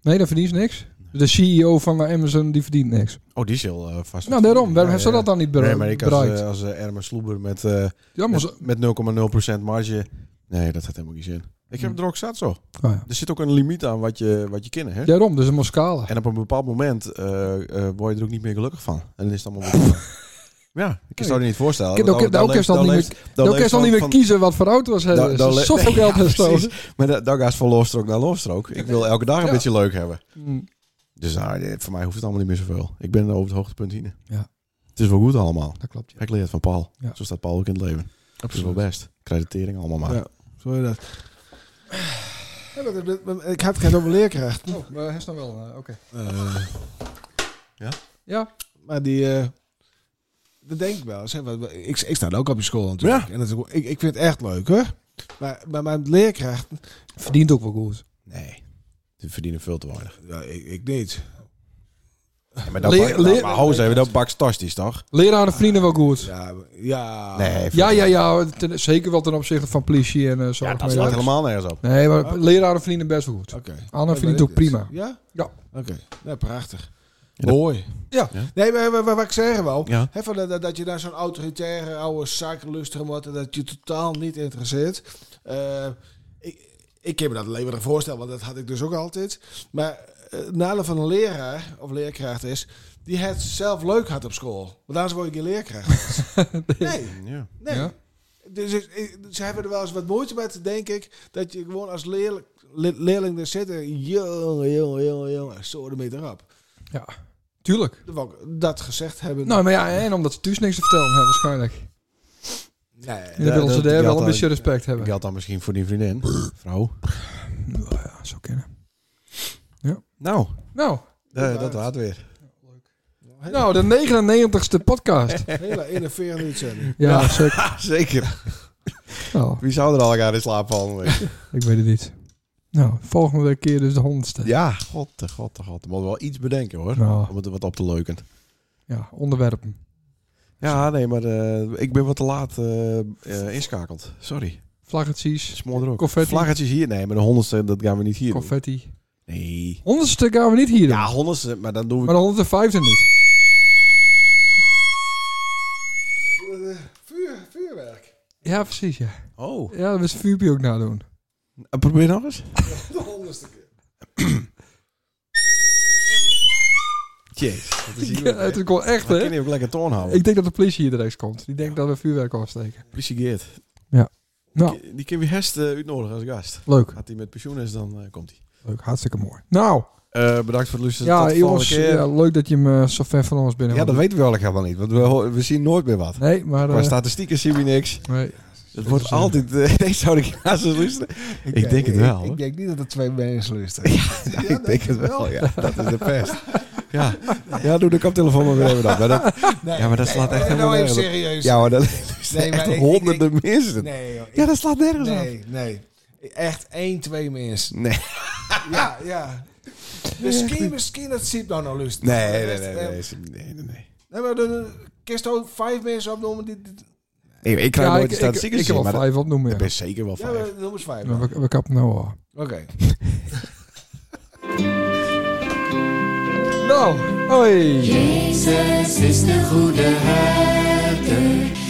D: Nee, dan verdien je niks.
A: Nee.
D: De CEO van eh, Amazon die verdient niks.
A: Oh, die is heel eh, vast.
D: Nou, daarom. Waarom heeft ze
A: Ja,
D: dat dan niet
A: ja.
D: bere-
A: Nee, maar ik als,
D: bereikt?
A: eh, als eh, Erma Sloeber met, eh,
D: ja, maar
A: met,
D: ze-
A: met 0,0% marge. Nee, dat had helemaal geen zin. Ik heb het er ook zat zo.
D: Oh ja.
A: Er zit ook een limiet aan wat je, wat je kennen, hè?
D: Daarom, dus een Moscala.
A: En op een bepaald moment eh, eh, word je er ook niet meer gelukkig van. En dan is het allemaal weer... ja, ik kan het je niet voorstellen.
D: Kijk,
A: want
D: dan- dan
A: leeft-
D: kan je dan niet
A: leeft-
D: Dan
A: leeft
D: kun je dan
A: van-
D: niet meer
A: van-
D: kiezen wat voor auto was
A: Dan-
D: hebben.
A: dan
D: Ze
A: le-
D: zoveel
A: Ja,
D: geld gestoken.
A: precies. Maar da- dan gaat het van loofstrook naar loofstrook. Ik wil elke dag een
D: Ja.
A: beetje leuk hebben.
D: Mm.
A: Dus ah, dit- voor mij hoeft het allemaal niet meer zoveel. Ik ben over het hoogtepunt heen.
D: Ja.
A: Het is wel goed allemaal.
D: Dat klopt. ja.
A: Ik leer het van Paul.
D: Ja.
A: Zo staat Paul ook in het leven. Dat is wel best. Creditering allemaal maar.
E: Ja. Zo is dat. Ja, dat- dat- dat- Ik had geen over leerkracht.
D: Oh, maar hij is dan wel. eh, Oké.
E: Eh,
D: Ja.
E: maar die... eh, dat denk ik wel. eens, hè. Want Ik, ik sta ook op je school natuurlijk. En dat is, ook- ik, ik vind het echt leuk hoor. Maar, maar mijn leerkracht...
D: Verdient ook wel goed.
A: Nee. Ze verdienen veel te weinig.
E: Ja, ik, ik niet.
A: maar dat
D: Leer-
A: bak,
D: leer-
A: maar hou eens even, dat bak fantastisch toch?
D: Leraren verdienen wel goed.
E: Ja, ja.
A: Nee.
D: Ja, ja, ja. ten- zeker wel ten opzichte van politie en eh zorg.
A: Ja, dat
D: maar
A: slaat
D: ja.
A: helemaal nergens op.
D: Nee, maar leraren verdienen best wel goed.
E: Oké.
D: Anna
E: Ja,
D: verdient
E: weet
D: ook
E: ik
D: prima.
E: het. Ja?
D: Ja.
E: Oké, nou, prachtig.
A: Ja, dat-
E: Mooi.
D: Ja.
A: Ja.
E: Nee, maar wa- wa- wat ik zeg wel,
A: Ja.
E: hè, van dat, dat- dat je daar zo'n autoritaire oude zak luisteren moet en dat je totaal niet interesseert. Eh, ik, ik kan me dat alleen maar voorstellen, want dat had ik dus ook altijd. Maar eh, het nadeel van een leraar of leerkracht is, die het zelf leuk had op school. Want anders word je geen leerkracht. nee.
A: Ja.
E: Nee.
D: Ja?
E: Dus ik- ik- ze hebben er wel eens wat moeite met, denk ik, dat je gewoon als leerling, le- leerling er zit en jongen, jongen, jongen, jongen, zo ermee erop.
D: Ja. Tuurlijk.
E: Dat wou ik- Dat gezegd hebben.
D: Nou, maar ja, en omdat ze thuis niks te vertellen hebben, waarschijnlijk. En
E: nee,
D: dan
A: Ja,
D: willen ze
A: dat-
D: daar
A: dat-
D: wel een beetje respect hebben.
A: Geldt dan misschien voor die vriendin, vrouw.
D: Ja, zo kennen.
A: Nou,
D: Nou,
A: eh, dat waard weer.
D: nou, de 99ste podcast.
E: hele innoverende uitzending.
D: Ja, zeker.
A: Ah, Zeker.
D: Nou,
A: Wie zou er al elkaar in slaap vallen?
D: ik weet het niet. Nou, volgende week keer dus de 100ste.
A: Ja, god, de god, de god. We moeten wel iets bedenken hoor.
D: Nou.
A: Om het er wat op te leuken.
D: Ja, onderwerpen.
A: Ja, nee, maar eh, ik ben wat te laat eh, eh, inschakeld. Sorry.
D: Vlaggetjes,
A: Smoor er ook.
D: Confetti.
A: Vlaggetjes hier. Nee, maar de honderdste, dat gaan we niet hier doen.
D: confetti.
A: Nee.
D: 100ste gaan we niet hier doen.
A: Ja, honderdste, maar dan doen we...
D: Maar de 105ste niet.
E: Vuur, vuurwerk.
D: Ja, precies, ja.
A: Oh.
D: Ja, dat is Fubi ook nadoen.
A: Eh, Probeer nog eens.
E: De honderdste keer.
A: Jeez. Dat is hier
D: Ja, eh, het is gewoon echt, hè?
A: kan je ook lekker toon houden.
D: Ik denk dat de politie hier direct komt. Die denkt dat we vuurwerk afsteken.
A: Politie Geert.
D: Nou,
A: Die kun je Hest eh, uitnodigen als gast.
D: leuk.
A: Gaat hij met pensioen is, dan eh, komt hij.
D: Leuk, hartstikke mooi. Nou,
A: Eh, bedankt voor het luisteren. Tot
D: ja,
A: de volgende
D: jongens,
A: keer.
D: ja, leuk dat je me zo ver van ons bent.
A: eh, Ja, dat weten we eigenlijk helemaal niet. Want we, ho- we zien nooit meer wat.
D: Nee, maar...
A: Qua
D: eh,
A: statistieken zien we niks.
D: nee.
A: Het wordt altijd... eh, nee, zou ik naast ons luisteren? Ik, denk
D: eh,
A: het wel.
E: Ik,
A: hoor.
E: denk niet dat er twee mensen luisteren.
A: Ja, ik denk het wel, ja. Dat is de pest. Ja, ja doe de kaptelefoon maar weer even op. Maar dat, ja, maar dat slaat echt helemaal
E: nou even
A: nergens op.
E: serieus.
A: Ja, maar dat is
E: Nee, maar
A: echt
E: ik- ik-
A: honderden mensen.
E: Nee, joh.
A: ja, dat slaat nergens op.
E: nee, nee. Echt één, twee mensen.
A: Nee.
E: Ja, ja. Misschien, misschien dat ziet nou nou lust.
A: Nee, nee, nee. Nee, nee, nee, nee, nee.
E: Nee, maar dan kist ook vijf mensen opnoemen. Die, die,
A: Nee, ik krijg
D: Ja,
A: nooit
D: ik,
A: de
D: ik,
A: statistieken
D: ik
A: zien,
D: heb al
A: maar dat-
D: vijf opnoemen,
A: dat
D: ja.
A: is zeker wel
E: ja,
A: vijf.
E: maar noem eens vijf.
D: Maar
E: dan.
D: We, we kappen nou al.
E: Oké.
D: Nou, hoi.
E: Nou.
I: Jezus is de goede herder.